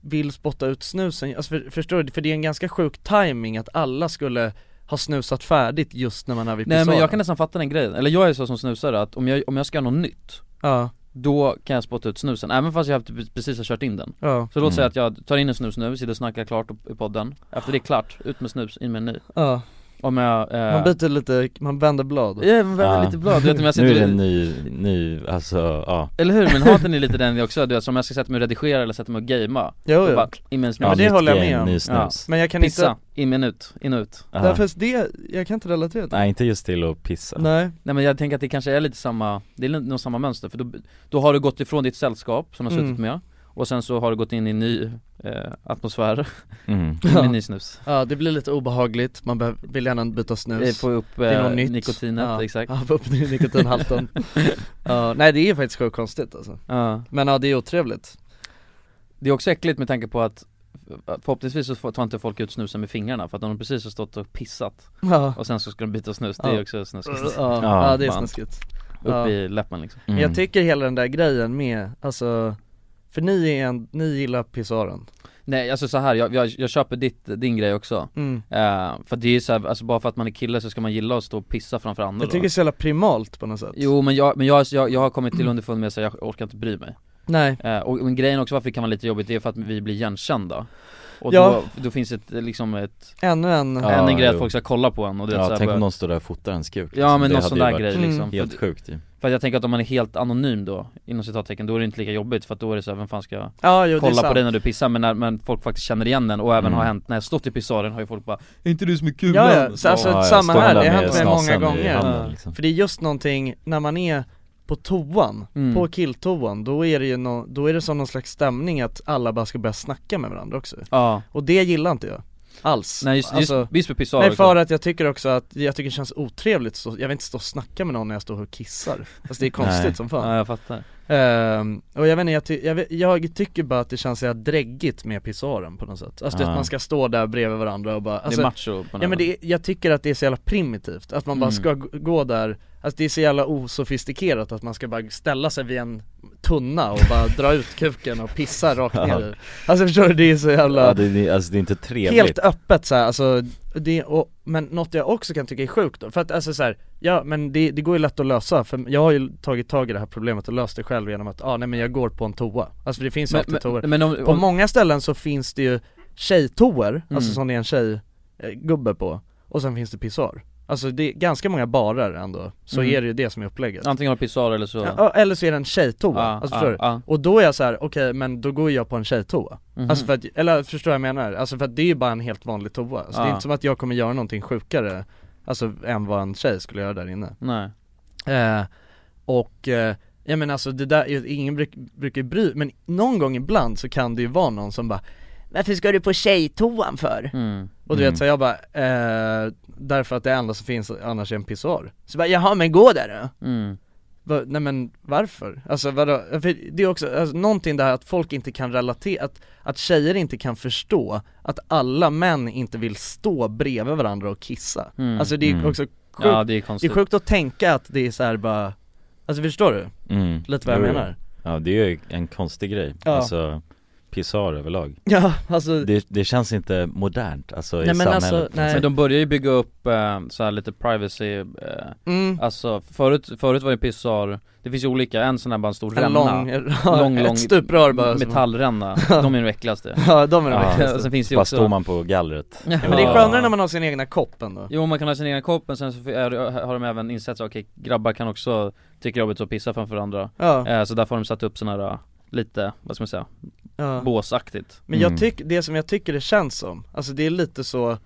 E: vill spotta ut snusen, alltså för, förstår du? För det är en ganska sjuk timing att alla skulle ha snusat färdigt just när man är vid
D: Nej men
E: pissoaren.
D: jag kan nästan fatta den grejen, eller jag är så som snusare att om jag, om jag ska göra något nytt
E: Ja.
D: Då kan jag spotta ut snusen, även fast jag typ precis har kört in den
E: Ja.
D: Så låt
E: Mm.
D: säga att jag tar in en snus nu, sitter och snackar klart i podden Efter det är klart, ut med snus, in med en ny
E: Ja.
D: Om jag, eh,
E: Man byter lite, man vänder blad
D: Ja, man vänder lite blad, du vet, om jag sitter
L: Nu är det
D: vid-
L: en ny, ny, alltså ja
D: Eller hur? Men haten är lite den också, du vet, som jag ska sätta mig och redigera eller sätta mig och gamea
E: Jo,
D: Då
E: jo.
D: bara, in med en snus
E: Ja, men det Ja, nytt håller jag game, med om. ny
D: Ja.
L: snus.
E: Men jag kan
D: Pissa,
E: inte-
D: in med en ut, in och ut
L: Ja. Därför
E: det, jag kan inte relatera
L: Nej inte just till att pissa
E: Nej
D: Nej men jag tänker att det kanske är lite samma, det är lite- nog samma mönster för då, då har du gått ifrån ditt sällskap som du har suttit
E: Mm.
D: med och sen så har du gått in i en ny eh, atmosfär,
L: Mm.
D: in med ny snus
E: Ja det blir lite obehagligt, man behöver, vill gärna byta snus
D: Eh, få upp,
E: Det är något
D: eh,
E: nytt.
D: nikotinet,
E: ja.
D: exakt.
E: Ja, få upp nikotinhalten Ja, nej det är faktiskt sjukt konstigt alltså
D: Ja.
E: Men ja det är otrevligt
D: Det är också äckligt med tanke på att att Förhoppningsvis så får- tar inte folk ut snusen med fingrarna för att de har precis har stått och pissat
E: Ja.
D: Och sen så ska de byta snus, det är
E: Ja.
D: också snuskigt
E: Ja, ja, det är
D: Man-
E: snuskigt
D: Upp
E: Ja.
D: i läppen liksom
E: Men jag tycker hela den där grejen med, alltså För ni är en, ni gillar pissoaren
D: Nej alltså så här, jag, jag, jag köper ditt, din grej också
E: Mm.
D: Eh, För det är ju så här, alltså bara för att man är kille så ska man gilla att stå och pissa framför andra
E: Jag tycker det
D: då.
E: är så jävla primalt på något sätt
D: Jo men jag, men jag, jag, jag har kommit till underfund med att jag orkar inte bry mig
E: Nej.
D: Eh, och, och grejen också varför det kan vara lite jobbigt, det är för att vi blir igenkända Och
E: Ja.
D: då, då finns ett, eh, liksom ett
E: Ännu en-
D: Ännu en
L: Ja,
D: grej att
L: jo.
D: folk ska kolla på en och det är
L: Ja,
D: så här,
L: tänk
D: bara-
L: om någon står där och fotar ens kuk,
D: Ja
L: liksom.
D: men
L: Det
D: någon
L: hade
D: sån
L: ju
D: där
L: varit
D: grej
L: Mm.
D: liksom
L: helt
D: För-
L: sjukt ju.
D: För att jag tänker att om man är helt anonym då, inom citattecken, då är det inte lika jobbigt för att då är det så här, vem fan ska
E: Ja, jo, det är
D: kolla på
E: sant.
D: dig när du pissar men, när, men folk faktiskt känner igen den och även
E: Mm.
D: har hänt, när jag stått i pissoaren har ju folk bara Är inte du som är kulan?
E: Ja, ja. Så, alltså
D: Ja, ja,
E: samma
D: står
E: här,
D: där
E: det har
D: med
E: hänt mig många
D: snasen i
E: gånger
D: handen, liksom.
E: För det är just någonting, när man är på toan,
D: Mm.
E: på killtoan, då är det ju nå, då är det som någon slags stämning att alla bara ska börja snacka med varandra också
D: Ja.
E: Och det gillar inte jag Alls
D: Nej, just- just- just med pissoar
E: Alltså, Nej
D: också.
E: för att jag tycker också att, jag tycker det känns otrevligt, att stå, jag vill inte stå och snacka med någon när jag står och kissar Alltså det är konstigt
D: Nej.
E: som fan
D: Ja, jag fattar.
E: Ehm, och jag vet inte, jag, ty- jag, vet, jag tycker bara att det känns så jävla dräggigt med pissoaren på något sätt Alltså
D: Ja.
E: att man ska stå där bredvid varandra och bara
D: är
E: alltså,
D: macho på något
E: Ja men
D: sätt.
E: det, är- jag tycker att det är så jävla primitivt, att man bara
D: Mm.
E: ska g- gå där Alltså det är så jävla osofistikerat att man ska bara ställa sig vid en tunna och bara dra ut kuken och pissa rakt ner i Alltså förstår du, det är så jävla
L: ja, det, det, Alltså det är inte trevligt
E: Helt öppet så här, alltså, det, och, men något jag också kan tycka är sjukt då, för att alltså så här, ja men det, det går ju lätt att lösa, för jag har ju tagit tag i det här problemet och löst det själv genom att, ah, nej men jag går på en toa, alltså för det finns ju
D: Men-
E: alltid
D: men-
E: toor
D: men om-
E: På
D: om-
E: många ställen så finns det ju tjejtoor,
D: Mm.
E: eh, alltså som det är en tjejgubbe på, och sen finns det pissoar Alltså det är ganska många barer ändå, så
D: Mm.
E: är det ju det som är upplägget
D: Antingen har pissoar eller så
E: Ja, eller så är det en tjejtoa,
D: Ja,
E: alltså
D: ja,
E: förstår du?
D: ja.
E: Och då är jag så här: okej men då går jag på en tjejtoa
D: Mhm.
E: Alltså för att, eller förstår jag vad jag menar? Alltså för att det är ju bara en helt vanlig toa, alltså det
D: Ja.
E: är inte som att jag kommer göra någonting sjukare Alltså än vad en tjej skulle göra där inne
D: Nej
E: eh, Och, eh, ja men alltså det där, är ju- ingen bruk, brukar ju bry, men någon gång ibland så kan det ju vara någon som bara Varför ska du på tjejtoan för?
D: Mm.
E: Och du
D: Mm.
E: vet så jag bara, eh, därför att det enda som finns annars är en pissoar Så bara, jaha men gå där då
D: Mm.
E: Va, nej men varför? Alltså vadå? För det är också, alltså, någonting där att folk inte kan relatera, att, att tjejer inte kan förstå att alla män inte vill stå bredvid varandra och kissa
D: Mm.
E: Alltså det är
D: Mm.
E: också sjukt,
D: Ja, det är
E: det
D: konstigt.
E: är sjukt att tänka att det är så här bara, alltså förstår du?
L: Mm.
E: Lite vad jag
L: Jo, jo.
E: menar
L: Ja det är ju en konstig grej,
E: Ja.
L: alltså pissoar överlag
E: Ja, alltså-
L: det, det känns inte modernt alltså i
D: Nej, men
L: samhället
D: alltså,
L: på något
D: Men
L: sätt.
D: de börjar ju bygga upp eh, så här lite privacy, eh,
E: Mm.
D: alltså förut, förut var det pissar, det finns ju olika, en sån här bara en stor
E: En
D: ränna
E: lång- ja, ett stuprör bara som-
D: Metallränna, de är de äckligaste
E: Ja, de är de
D: Och
E: äckligaste.
D: Sen finns det ju
L: Bara
D: också
L: står man på gallret
E: Men det är skönare när man har sin egna kopp ändå
D: Jo man kan ha sin egen kopp men sen så är, det- har de även insett att okej grabbar kan också tycka det är jobbigt att pissa framför andra
E: Ja.
D: eh, Så därför har de satt upp såna här eh, lite, vad ska man säga,
E: Ja.
D: båsaktigt
E: Men jag tycker, det som jag tycker det känns som, alltså det är lite så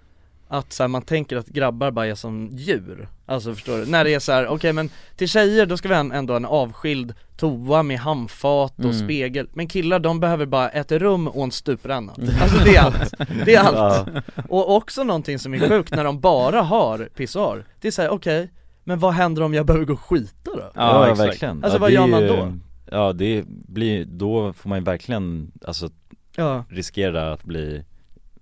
E: att så här, man tänker att grabbar bara är som djur, alltså förstår du? När det är så här, okej men till tjejer då ska vi ha en, ändå en avskild toa med handfat och
D: Mm.
E: spegel Men killar de behöver bara ett rum och en stupränna, alltså det är allt, det är allt!
D: Ja.
E: Och också någonting som är sjukt när de bara har pissoar, det är såhär okej, men vad händer om jag behöver gå och skita då?
L: Ja, verkligen
E: Alltså
L: Ja,
E: vad
L: det
E: gör man
L: är ju-
E: då?
L: Ja det blir, då får man ju verkligen, alltså
E: Ja.
L: riskera att bli,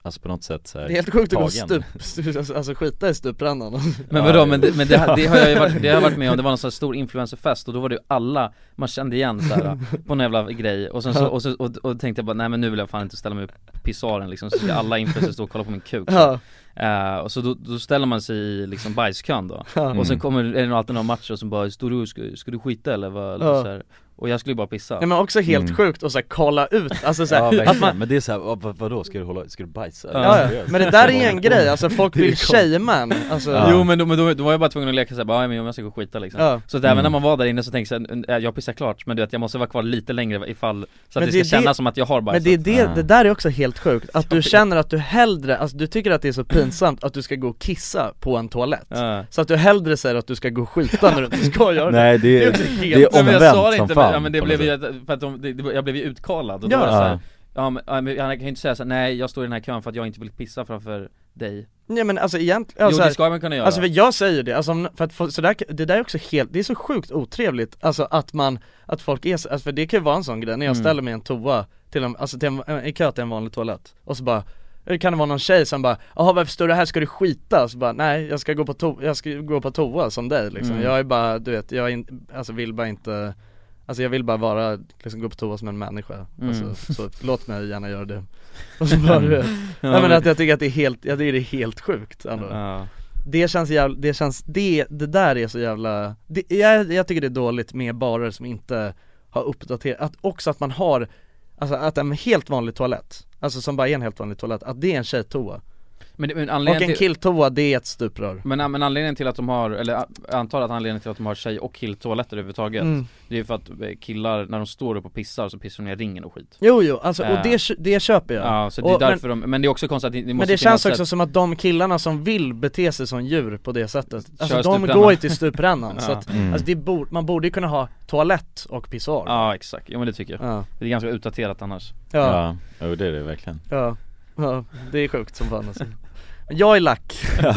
L: alltså på något sätt så här,
E: Det är helt sjukt att gå och
L: tagen.
E: stup, alltså, alltså skita i stuprännan
D: Men vadå, men, det, men det, det har jag ju varit, det har jag varit med om, det var någon sån här stor influencerfest och då var det ju alla, man kände igen så här eh, på någon jävla grej och sen så, och, så och, och tänkte jag bara nej men nu vill jag fan inte ställa mig upp på pissoaren liksom, så ska alla influencers stå och kolla på min kuk
E: Ja.
D: Eh, och så då, då ställer man sig i liksom bajskön då,
E: Ja.
D: och sen
E: Mm.
D: kommer, är det alltid någon match och som bara, står du, ska, ska du skita eller vad? Eller
E: Ja.
D: så här. Och jag skulle ju bara pissa
E: Nej men också helt
L: Mm.
E: sjukt att så här, kolla ut, alltså så
L: Ja
E: här,
L: verkligen,
E: att man,
L: men det är såhär, vad, vadå, ska du hålla, ska du bajsa?
E: ja, ja. men det där är ju en grej, alltså folk
D: Det är
E: vill
D: konstigt.
E: shamea en, alltså
D: Jo men då, men då, då var jag bara tvungen att leka såhär, bara, ja men jag ska gå och skita liksom
E: Ja.
D: Så att även
E: Mm.
D: när man var där inne så tänkte jag, "Äh, jag pissar klart men du vet jag måste vara kvar lite längre ifall Så att
E: Men
D: det
E: det
D: ska
E: är det-
D: kännas som att jag har
E: Men
D: bajsat
E: det är det, det där är också helt sjukt, att du känner att du hellre, alltså du tycker att det är så pinsamt att du ska gå och kissa på en toalett
D: Ja.
E: Så att du hellre säger att du ska gå och skita när du inte ska göra det
L: Nej, det är-
E: också
L: det
E: helt-
L: är
D: Nej, men jag
L: omvänt
D: sa det
L: som
D: inte,
L: fan,
D: men, ja, men det
L: på
D: blev
L: något
D: ju, att- för att de, det, det- jag blev ju utkalad och
E: Ja.
D: då var det så här,
L: Ja.
D: ja men, ja, men jag kan ju inte säga såhär, nej jag står i den här kön för att jag inte vill pissa framför dig
E: Nej men alltså egentligen,
D: Jo,
E: alltså,
D: det ska man kunna göra.
E: Alltså för jag säger det, alltså, om- för att få- så där, det där är också helt, det är så sjukt otrevligt, alltså att man, att folk är så- alltså, för det kan ju vara en sån grej, när jag
D: Mm.
E: ställer mig i en toa, till en, alltså till en, i kö till en vanlig toalett, och så bara eller kan det vara någon tjej som bara 'Jaha varför står du här, ska du skita?' Så bara 'Nej jag ska gå på, to- jag ska gå på toa som dig liksom,
D: Mm.
E: jag är bara, du vet, jag är in- alltså vill bara inte Alltså jag vill bara vara, liksom gå på toa som en människa,
D: Mm.
E: alltså, så låt mig gärna göra det Och så bara, du vet. Nej men att jag tycker att det är helt, jag tycker det är helt sjukt ändå.
D: Ja.
E: Det känns jävla, det känns, det, det där är så jävla, det, jag, jag tycker det är dåligt med barer som inte har uppdaterat, att också att man har, alltså att en helt vanlig toalett, alltså som bara är en helt vanlig toalett, att det är en tjejtoa
D: Men, men
E: Och en
D: anledningen till,
E: killtoa det är ett stuprör
D: men, men anledningen till att de har, eller jag antar att anledningen till att de har tjej och killtoaletter överhuvudtaget
E: Mm.
D: Det är ju för att eh, killar, när de står upp och pissar så pissar de ner ringen och skit
E: Jo jo, alltså, och
D: Eh,
E: det, kö- det köper jag
D: Ja, så det är
E: Och- men-
D: därför de, men det är också konstigt att det, det
E: Men
D: måste
E: det känns
D: finnas
E: också
D: ett-
E: som att de killarna som vill bete sig som djur på det sättet, alltså
D: Kör
E: de
D: stuprännan.
E: går ju till stuprännan så att,
D: Ja. Mm.
E: alltså det bor, man borde ju kunna ha toalett och pissoar
D: Ja exakt, jo men det tycker jag
E: Ja.
D: Det är ganska utdaterat annars
E: Ja.
L: Ja, jo, det är det verkligen
E: Ja, ja, det är sjukt som fan alltså Jag är lack
L: Ja,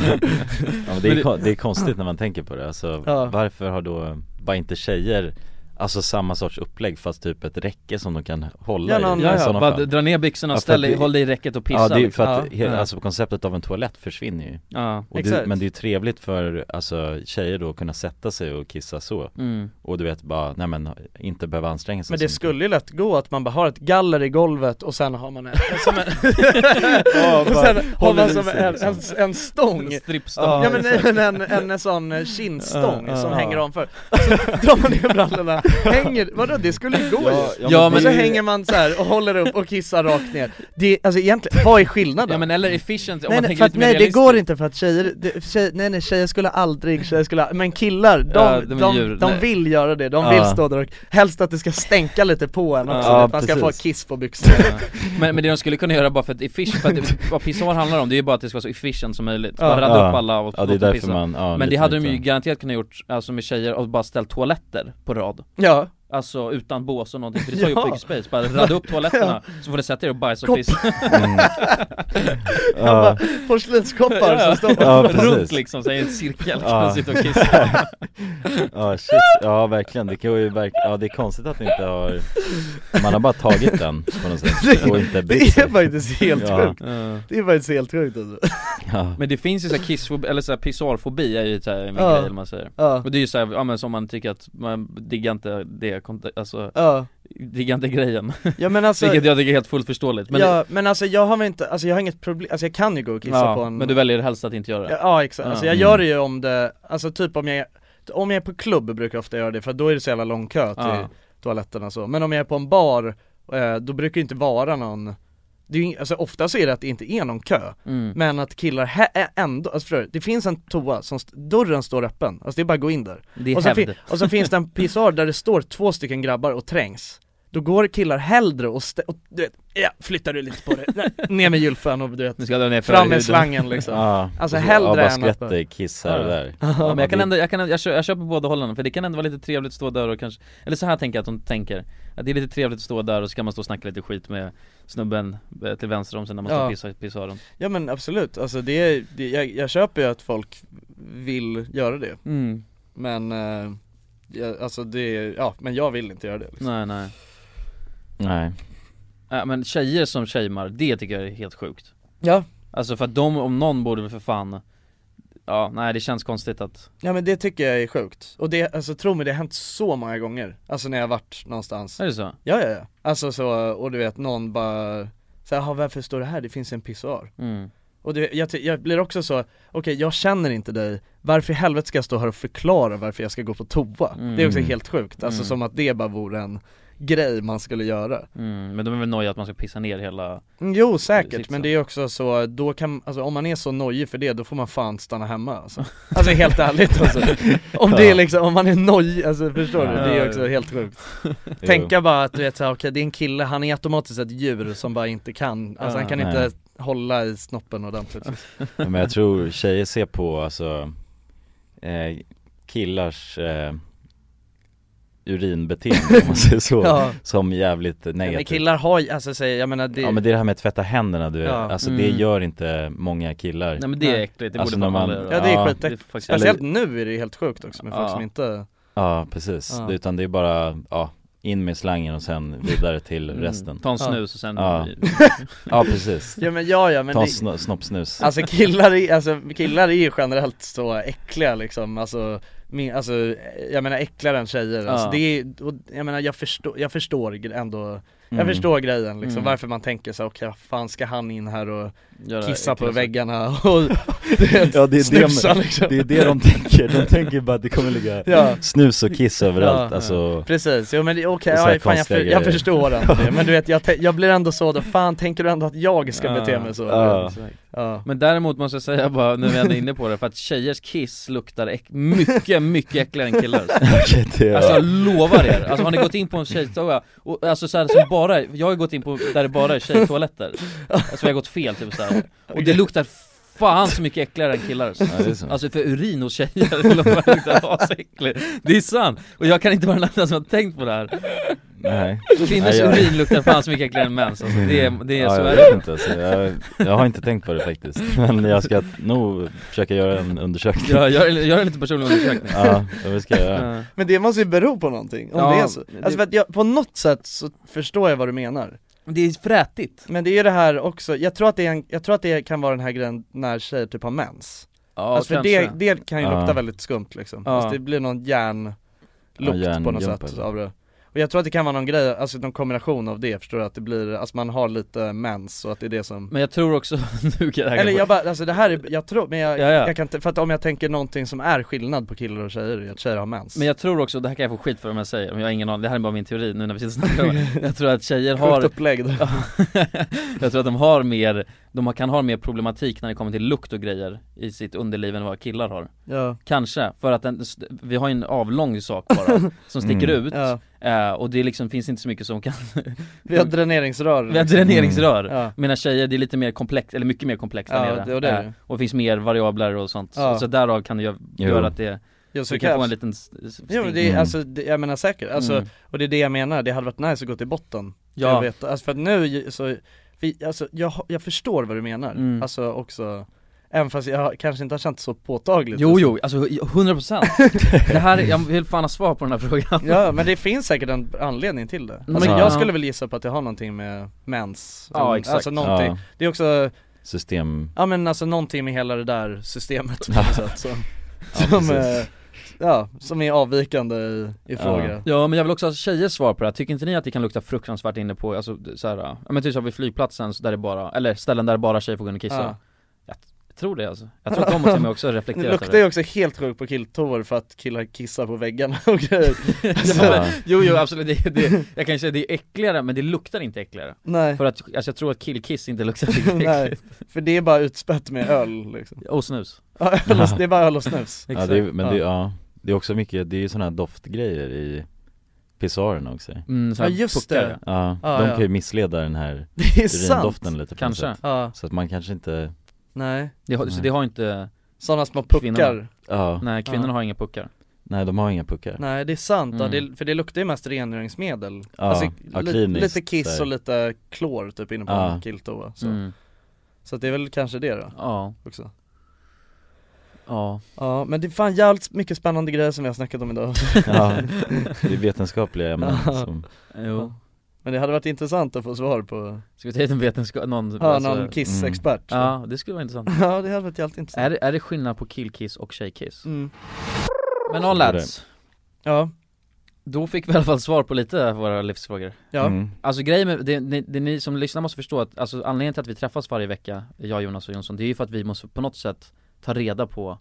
L: men det, är, kon- det är konstigt när man tänker på det, alltså
E: Ja.
L: varför har då bara inte tjejer Alltså samma sorts upplägg fast typ ett räcke som de kan hålla
D: Ja,
L: i,
D: någon-
L: i
D: ja, ja.
L: sådana
D: Bara
L: fall.
D: dra ner byxorna och
L: för att
D: ställ i-
L: det-
D: håll dig i räcket och pissa,
L: Ja det är ju
D: liksom.
L: för att
D: Ja.
L: hela,
D: Ja.
L: alltså konceptet av en toalett försvinner ju
D: Ja.
L: och det,
D: Exakt.
L: Men det är ju trevligt för alltså tjejer då att kunna sätta sig och kissa så
D: Mm.
L: Och du vet bara, nej men inte behöva anstränga sig
E: Men
L: så
E: det
L: mycket.
E: skulle ju lätt gå att man bara har ett galler i golvet och sen har man en, som en
L: Ja,
E: och
L: bara
E: sen har
L: håller
E: man
L: i
E: som
L: sig
E: en, en,
L: liksom.
E: en stång
D: Strippstång.
E: Ja men
D: exakt.
E: en, en, en, en sån kindstång
D: Ja, ja,
E: som
D: ja.
E: hänger om för Så drar man ner brallorna hänger, vadå det skulle gå
D: Ja,
E: ju.
D: ja, Ja, men
E: Och så
D: det-
E: hänger man så här och håller upp och kissar rakt ner Det, alltså egentligen, vad är skillnaden?
D: Ja, men eller efficient, om
E: nej,
D: man
E: nej,
D: tänker
E: för att,
D: lite mer
E: nej det
D: realistiskt.
E: går inte för att tjejer, det, tjej, nej nej tjejer skulle aldrig, tjejer skulle, aldrig- men killar, de,
D: Ja, de
E: de,
D: är
E: de,
D: djur, nej.
E: vill göra det, de
D: Ja.
E: vill stå där och, helst att det ska stänka lite på en också,
D: Ja,
E: att man ska få
D: precis.
E: kiss på byxorna
D: Men, men det de skulle kunna göra bara för att efficient, för att det- vad pissoar handlar om det är ju bara att det ska vara så efficient som möjligt,
E: Ja.
D: bara radda
L: Ja.
D: upp alla och
L: Ja, det är
D: låta dem
L: därför man- ja,
D: Men det
L: lite
D: hade de ju
L: lite.
D: garanterat kunnat gjort, alltså med tjejer, och bara ställt toaletter på rad
E: Ja
D: Alltså utan bås och någonting, för det tar ju
E: Ja.
D: upp mycket space, bara radda upp toaletterna,
E: Ja.
D: så får ni sätta er och bajsa och
E: Kopp.
D: pissa
E: Mm. Ja. bara, porslinskoppar som står-
L: Ja, precis.
D: runt liksom, så i en cirkel, kan man sitta och kissa
L: Ja shit, ja verkligen, det kan ju verk... ja det är konstigt att ni inte har Man har bara tagit den på något sätt och inte brytt
E: Det
L: sig.
E: är faktiskt helt
L: Ja.
E: sjukt, det är faktiskt helt sjukt alltså.
L: Ja.
D: Men det finns ju såhär kissfobi, eller såhär pissoarfobi är ju såhär en
E: Ja.
D: grej eller vad man säger
E: Ja.
D: Och det är ju såhär, ja men som man tycker att man diggar inte det, kont- alltså
E: Ja.
D: Diggar inte grejen
E: Ja, men alltså-
D: Vilket jag tycker är helt fullt förståeligt men
E: ja, men alltså jag har väl inte, alltså jag har inget problem, alltså jag kan ju gå och kissa
D: Ja,
E: på en
D: men du väljer helst att inte göra det?
E: Ja, ja exakt, alltså jag
D: Mm.
E: gör det ju om det, alltså typ om jag, om jag är på klubb brukar jag ofta göra det för då är det så jävla lång kö till
D: Ja.
E: toaletterna och så, men om jag är på en bar, eh, då brukar det inte vara någon det är ju, ing- alltså ofta så är det att det inte är någon kö,
D: Mm.
E: men att killar hä- ä- ändå, alltså förstår du, det finns en toa, som st- dörren står öppen, alltså det är bara att gå in där
D: Det är
E: och, så
D: hävd.
E: och så finns det en pissoar där det står två stycken grabbar och trängs Då går killar hellre och, stä- och du vet, ja, flyttar du lite på det, Nej, ner med julfön och du vet
D: Nu ska jag dra ner
E: Fram med
D: förhuden.
E: slangen liksom
L: Ja.
E: Alltså
L: Ja,
E: hellre
L: bara
E: än att
L: skvätter kiss här och där.
D: Ja, men jag kan
L: det-
D: ändå, jag, kan, jag, kö- jag köper båda hållen för det kan ändå vara lite trevligt att stå där och kanske Eller så här tänker jag att de tänker att Det är lite trevligt att stå där och så kan man stå och snacka lite skit med snubben eh, till vänster om sig när man står
E: Ja.
D: och pissar i pissoaren
E: Ja men absolut, alltså det, är- det jag, jag köper ju att folk vill göra det
D: Mm.
E: Men, eh, jag, alltså det, är- ja men jag vill inte göra det liksom.
D: Nej nej
L: Nej
D: Ja, men tjejer som tjejmar, det tycker jag är helt sjukt
E: Ja.
D: Alltså för att de om någon borde väl för fan Ja, nej det känns konstigt att
E: Ja men det tycker jag är sjukt, och det, alltså tro mig det har hänt så många gånger, alltså när jag har varit någonstans
D: Är det så?
E: Ja ja ja, alltså så, och du vet någon bara säger jaha varför står det här? Det finns en pissoar
D: Mm.
E: Och du, vet, jag, ty- jag blir också så, okej jag känner inte dig, varför i helvete ska jag stå här och förklara varför jag ska gå på toa?
D: Mm.
E: Det är också helt sjukt, alltså
D: Mm.
E: som att det bara vore en grej man skulle göra
D: mm, Men de är väl nojiga att man ska pissa ner hela
E: Mm, Jo säkert,
D: Sitsen.
E: men det är också så, då kan, alltså om man är så nojig för det, då får man fan stanna hemma alltså, alltså helt ärligt alltså. Om det är liksom, om man är nojig, alltså förstår du? Det är också helt sjukt Tänka bara att du vet såhär, okej det är en kille, han är automatiskt ett djur som bara inte kan, alltså han kan
L: Ja.
E: inte
L: Nej. Alltså,
E: hålla i snoppen ordentligt
L: Ja, Men jag tror tjejer ser på alltså eh, killars eh, urinbeteende om man säger så,
E: Ja.
L: som jävligt
E: Nej, men
L: negativt
E: killar har ju, alltså säger, jag menar det,
L: Ja men det är det här med att tvätta händerna du vet,
E: Ja.
L: alltså
E: Mm.
L: det gör inte många killar
D: Nej, men det är äckligt, det borde
L: när
D: fan
L: man-
D: alla göra.
E: Ja det är
D: det är
E: skitäckligt,
D: faktiskt-
E: speciellt
D: eller-
E: nu är det helt sjukt också med folk
D: Ja.
E: som inte
L: Ja precis,
E: Ja.
L: Det- utan det är bara, ja, in med slangen och sen vidare till
E: Mm.
L: resten
D: Ta en snus och sen-
L: Ja, ja precis
E: Ja men ja ja men
L: Ta
E: det-
L: sno- snoppsnus
E: Alltså killar, är, alltså killar är ju generellt så äckliga liksom, alltså, min, alltså jag menar äckligare än tjejer,
D: Ja.
E: alltså, det är, och, jag menar jag förstår, jag förstår gre- ändå Jag
D: Mm.
E: förstår grejen liksom,
D: Mm.
E: varför man tänker så här, okej vad fan ska han in här och
D: Göra
E: kissa på
D: äckliga
E: väggarna och du vet,
L: Ja det är,
E: snusa
L: det,
E: liksom
L: det är det de tänker, de tänker bara att det kommer ligga
E: Ja.
L: snus och kiss överallt
E: Ja.
L: alltså
E: Precis, jo men det- okej,
L: Och så här
E: ja, fan jag,
L: konstiga
E: för, jag
L: grejer.
E: förstår ändå det, men du vet jag, tän- jag blir ändå så då, fan tänker du ändå att jag ska bete mig så?
D: Ja.
E: Ja.
D: Men däremot måste jag säga bara, nu är vi ändå inne på det, för att tjejers kiss luktar äck- mycket, mycket äckligare än killars
L: Okej, det är-
D: Alltså jag lovar er, alltså har ni gått in på en tjejtoa, och alltså så här, som bara, jag har ju gått in på, där det bara är tjejtoaletter Alltså vi har gått fel typ så här. och det luktar fan så mycket äckligare än killars
L: det är så.
D: Alltså för urin hos tjejer, det luktar asäckligt Det är sant! Och jag kan inte vara den enda som har tänkt på det här
L: Nej.
D: Kvinnors
L: Nej, jag-
D: urin luktar fan så mycket äckligare än mäns, alltså det är, det är
L: ja,
D: så
L: jag vet
D: är det
L: inte alltså. jag, jag har inte tänkt på det faktiskt Men jag ska nog försöka göra en undersökning
D: Ja, gör, gör en lite personlig undersökning
L: Ja, det ska jag göra
E: Men det måste ju bero på någonting, om
D: Ja,
E: det är så.
D: det-
E: Alltså för att jag, på något sätt så förstår jag vad du menar
D: Det är frätigt
E: Men det är ju det här också, jag tror att det, är en, jag tror att det kan vara den här grejen när tjejer typ har mens
D: Ja,
E: Alltså för
D: kanske.
E: det, det kan ju lukta
L: Ja.
E: väldigt skumt liksom,
D: Ja.
E: alltså det blir någon järnlukt
L: Ja,
E: på något
L: järnjump
E: sätt
L: eller?
E: av det Och jag tror att det kan vara någon grej, alltså någon kombination av det förstår du, att det blir, alltså man har lite mens och att det är det som
D: Men jag tror också, nu kan det här
E: Eller
D: gå-
E: jag bara, alltså det här är, jag tror, men jag,
D: Ja, ja.
E: jag kan inte, för att om jag tänker någonting som är skillnad på killar och tjejer, är att tjejer har mens
D: Men jag tror också, det här kan jag få skit för om jag säger, men jag har ingen aning, det här är bara min teori nu när vi sitter och snackar om det. Jag tror att tjejer har
E: Sjukt upplägg då.
D: Jag tror att de har mer, de har- kan ha mer problematik när det kommer till lukt och grejer i sitt underliv än vad killar har
E: Ja.
D: Kanske, för att den, vi har ju en avlång sak bara, som sticker
E: Mm.
D: ut
E: Ja.
D: eh, Och det liksom finns inte så mycket som kan
E: Vi har dräneringsrör
D: Vi har dräneringsrör,
E: Mm. Ja.
D: medan tjejer det är lite mer komplext, eller mycket mer komplext
E: Ja,
D: där nere Eh,
E: det- och det är det.
D: och finns mer variabler och sånt,
E: Ja.
D: så, så därav kan det gö-
E: Jo.
D: göra att det,
E: Ja, så
D: vi
E: det
D: kan få
E: krävs.
D: en liten s- s-
E: Jo men
D: sting.
E: det, är- alltså, det, jag menar säkert, alltså,
D: Mm.
E: och det är det jag menar, det hade varit nice att gå till botten
D: Ja.
E: Jag vet, alltså för att nu ju- så, vi, alltså, jag, har- jag förstår vad du menar,
D: Mm.
E: alltså också Även fast jag kanske inte har känt så påtagligt
D: Jo jo, alltså 100% Det här, är- jag vill fan ha svar på den här frågan
E: Ja men det finns säkert en anledning till det
D: Men-
E: alltså,
D: Ja.
E: Jag skulle väl gissa på att det har någonting med mens
D: Ja, exakt.
E: Alltså någonting,
L: Ja.
E: det är också
L: System
E: Ja men alltså någonting med hela det där systemet på något sätt som,
L: Ja,
E: som,
L: precis.
E: eh, ja, som är avvikande i, i fråga
D: Ja men jag vill också ha tjejers svar på det här, tycker inte ni att det kan lukta fruktansvärt inne på, alltså så här, ja men typ som vid flygplatsen så där det bara, eller ställen där bara tjejer får gå in och kissa
E: Ja.
D: Jag t- tror det alltså, jag tror att de har till och med också reflekterat
E: Det
D: över
E: luktar ju också helt sjukt på killtoar för att killar kissar på väggarna och grejer Alltså,
D: ja. men- Jo jo absolut, det, det, jag kan ju säga det är äckligare men det luktar inte äckligare
E: Nej.
D: För att, alltså jag tror att killkiss inte luktar lika
E: Nej,
D: äckligt
E: för det är bara utspätt med öl liksom
D: Och snus
E: Ja, öl och, det är bara öl och snus
L: ja, det är, men Det, ja, det är också mycket, det är ju sådana här doftgrejer i pissoarerna också
D: Mm, så här Ja, just puckar, det.
L: Ja,
E: ja.
L: de
E: Ah, Ja,
L: kan ju
E: ja.
L: missleda den här
E: Det är
L: urindoften
E: sant.
L: lite på
D: Kanske.
L: något sätt.
E: Ja.
L: Så att man kanske inte
E: Nej
D: det, har- Så det har inte
E: Sådana små puckar
D: kvinnorna.
L: Ja.
D: Nej kvinnorna
E: Ja.
D: har inga puckar
L: Nej de har inga puckar
E: Nej det är sant, ja,
L: Mm.
E: det, för det luktar ju mest rengöringsmedel
L: Ja,
E: Alltså
L: ja,
E: li,
L: kliniskt
E: lite kiss
L: där.
E: och lite klor typ inne på
L: Ja.
E: en killtoa så.
D: Mm.
E: så att det är väl kanske det då
D: Ja
E: också
D: Ja
E: Ja men det är fan jävligt mycket spännande grejer som vi har snackat om idag
L: Ja, det är vetenskapliga ämnen
E: Ja.
L: som
D: Jo.
E: Men det hade varit intressant att få svar på
D: Ska vi ta hit en vetenskap, någon
E: Ja,
L: Alltså,
E: någon kissexpert.
D: mm. Ja, det skulle vara intressant
E: Ja det hade varit jävligt intressant
D: Är, det- är det skillnad på killkiss och tjejkiss?
E: Mm.
D: Men all lads
E: Ja
D: Då fick vi i alla fall svar på lite av våra livsfrågor
E: Ja. Mm.
D: Alltså grejen med, det, det, det ni som lyssnar måste förstå att, alltså anledningen till att vi träffas varje vecka, jag, Jonas och Jonsson, det är ju för att vi måste på något sätt ta reda på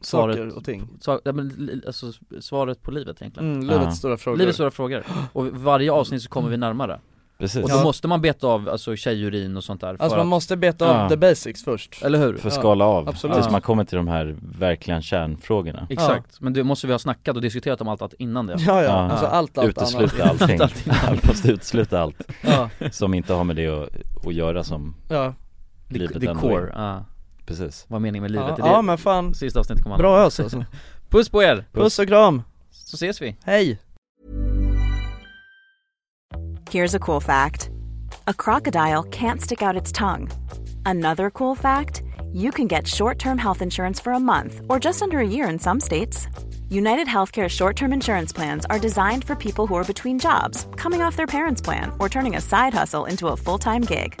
E: Saker
D: svaret-
E: och ting.
D: sa- ja, men, li- alltså svaret på livet egentligen
E: Mm, livets Ja. stora frågor.
D: Livets stora frågor, och varje avsnitt så kommer vi närmare
L: Precis.
D: Och då
E: Ja.
D: måste man beta av alltså tjejurin och sånt där för
E: Alltså man
D: att-
E: måste beta av the basics först
D: Eller hur?
L: För att skala av,
D: Absolut.
L: tills
D: Ja.
L: man kommer till de här verkligen kärnfrågorna
D: Exakt, men det måste vi ha snackat och diskuterat om allt, allt innan det
E: Ja, ja. Alltså allt, allt
L: Utesluta
E: annat.
L: allting,
E: Allt, allt
L: allt,
E: innan.
L: fast utesluta allt
E: Ja.
L: som inte har med det att, att göra som
E: Ja.
D: The-
L: livet
D: the
L: ändå
D: core,
L: är.
D: ja.
L: Precis
D: Vad är meningen med livet?
E: Ja,
D: Är
E: ja, men fan.
D: Sista avsnittet kommer
E: Bra
D: handla om.
E: ös, alltså.
D: Puss på er!
E: Puss och kram!
D: Så ses vi!
E: Hej!
M: Here's a cool fact a crocodile can't stick out its tongue. Another cool fact you can get short term health insurance for a month or just under a year in some states. United Healthcare short term insurance plans are designed for people who are between jobs, coming off their parents' plan, or turning a side hustle into a full time gig.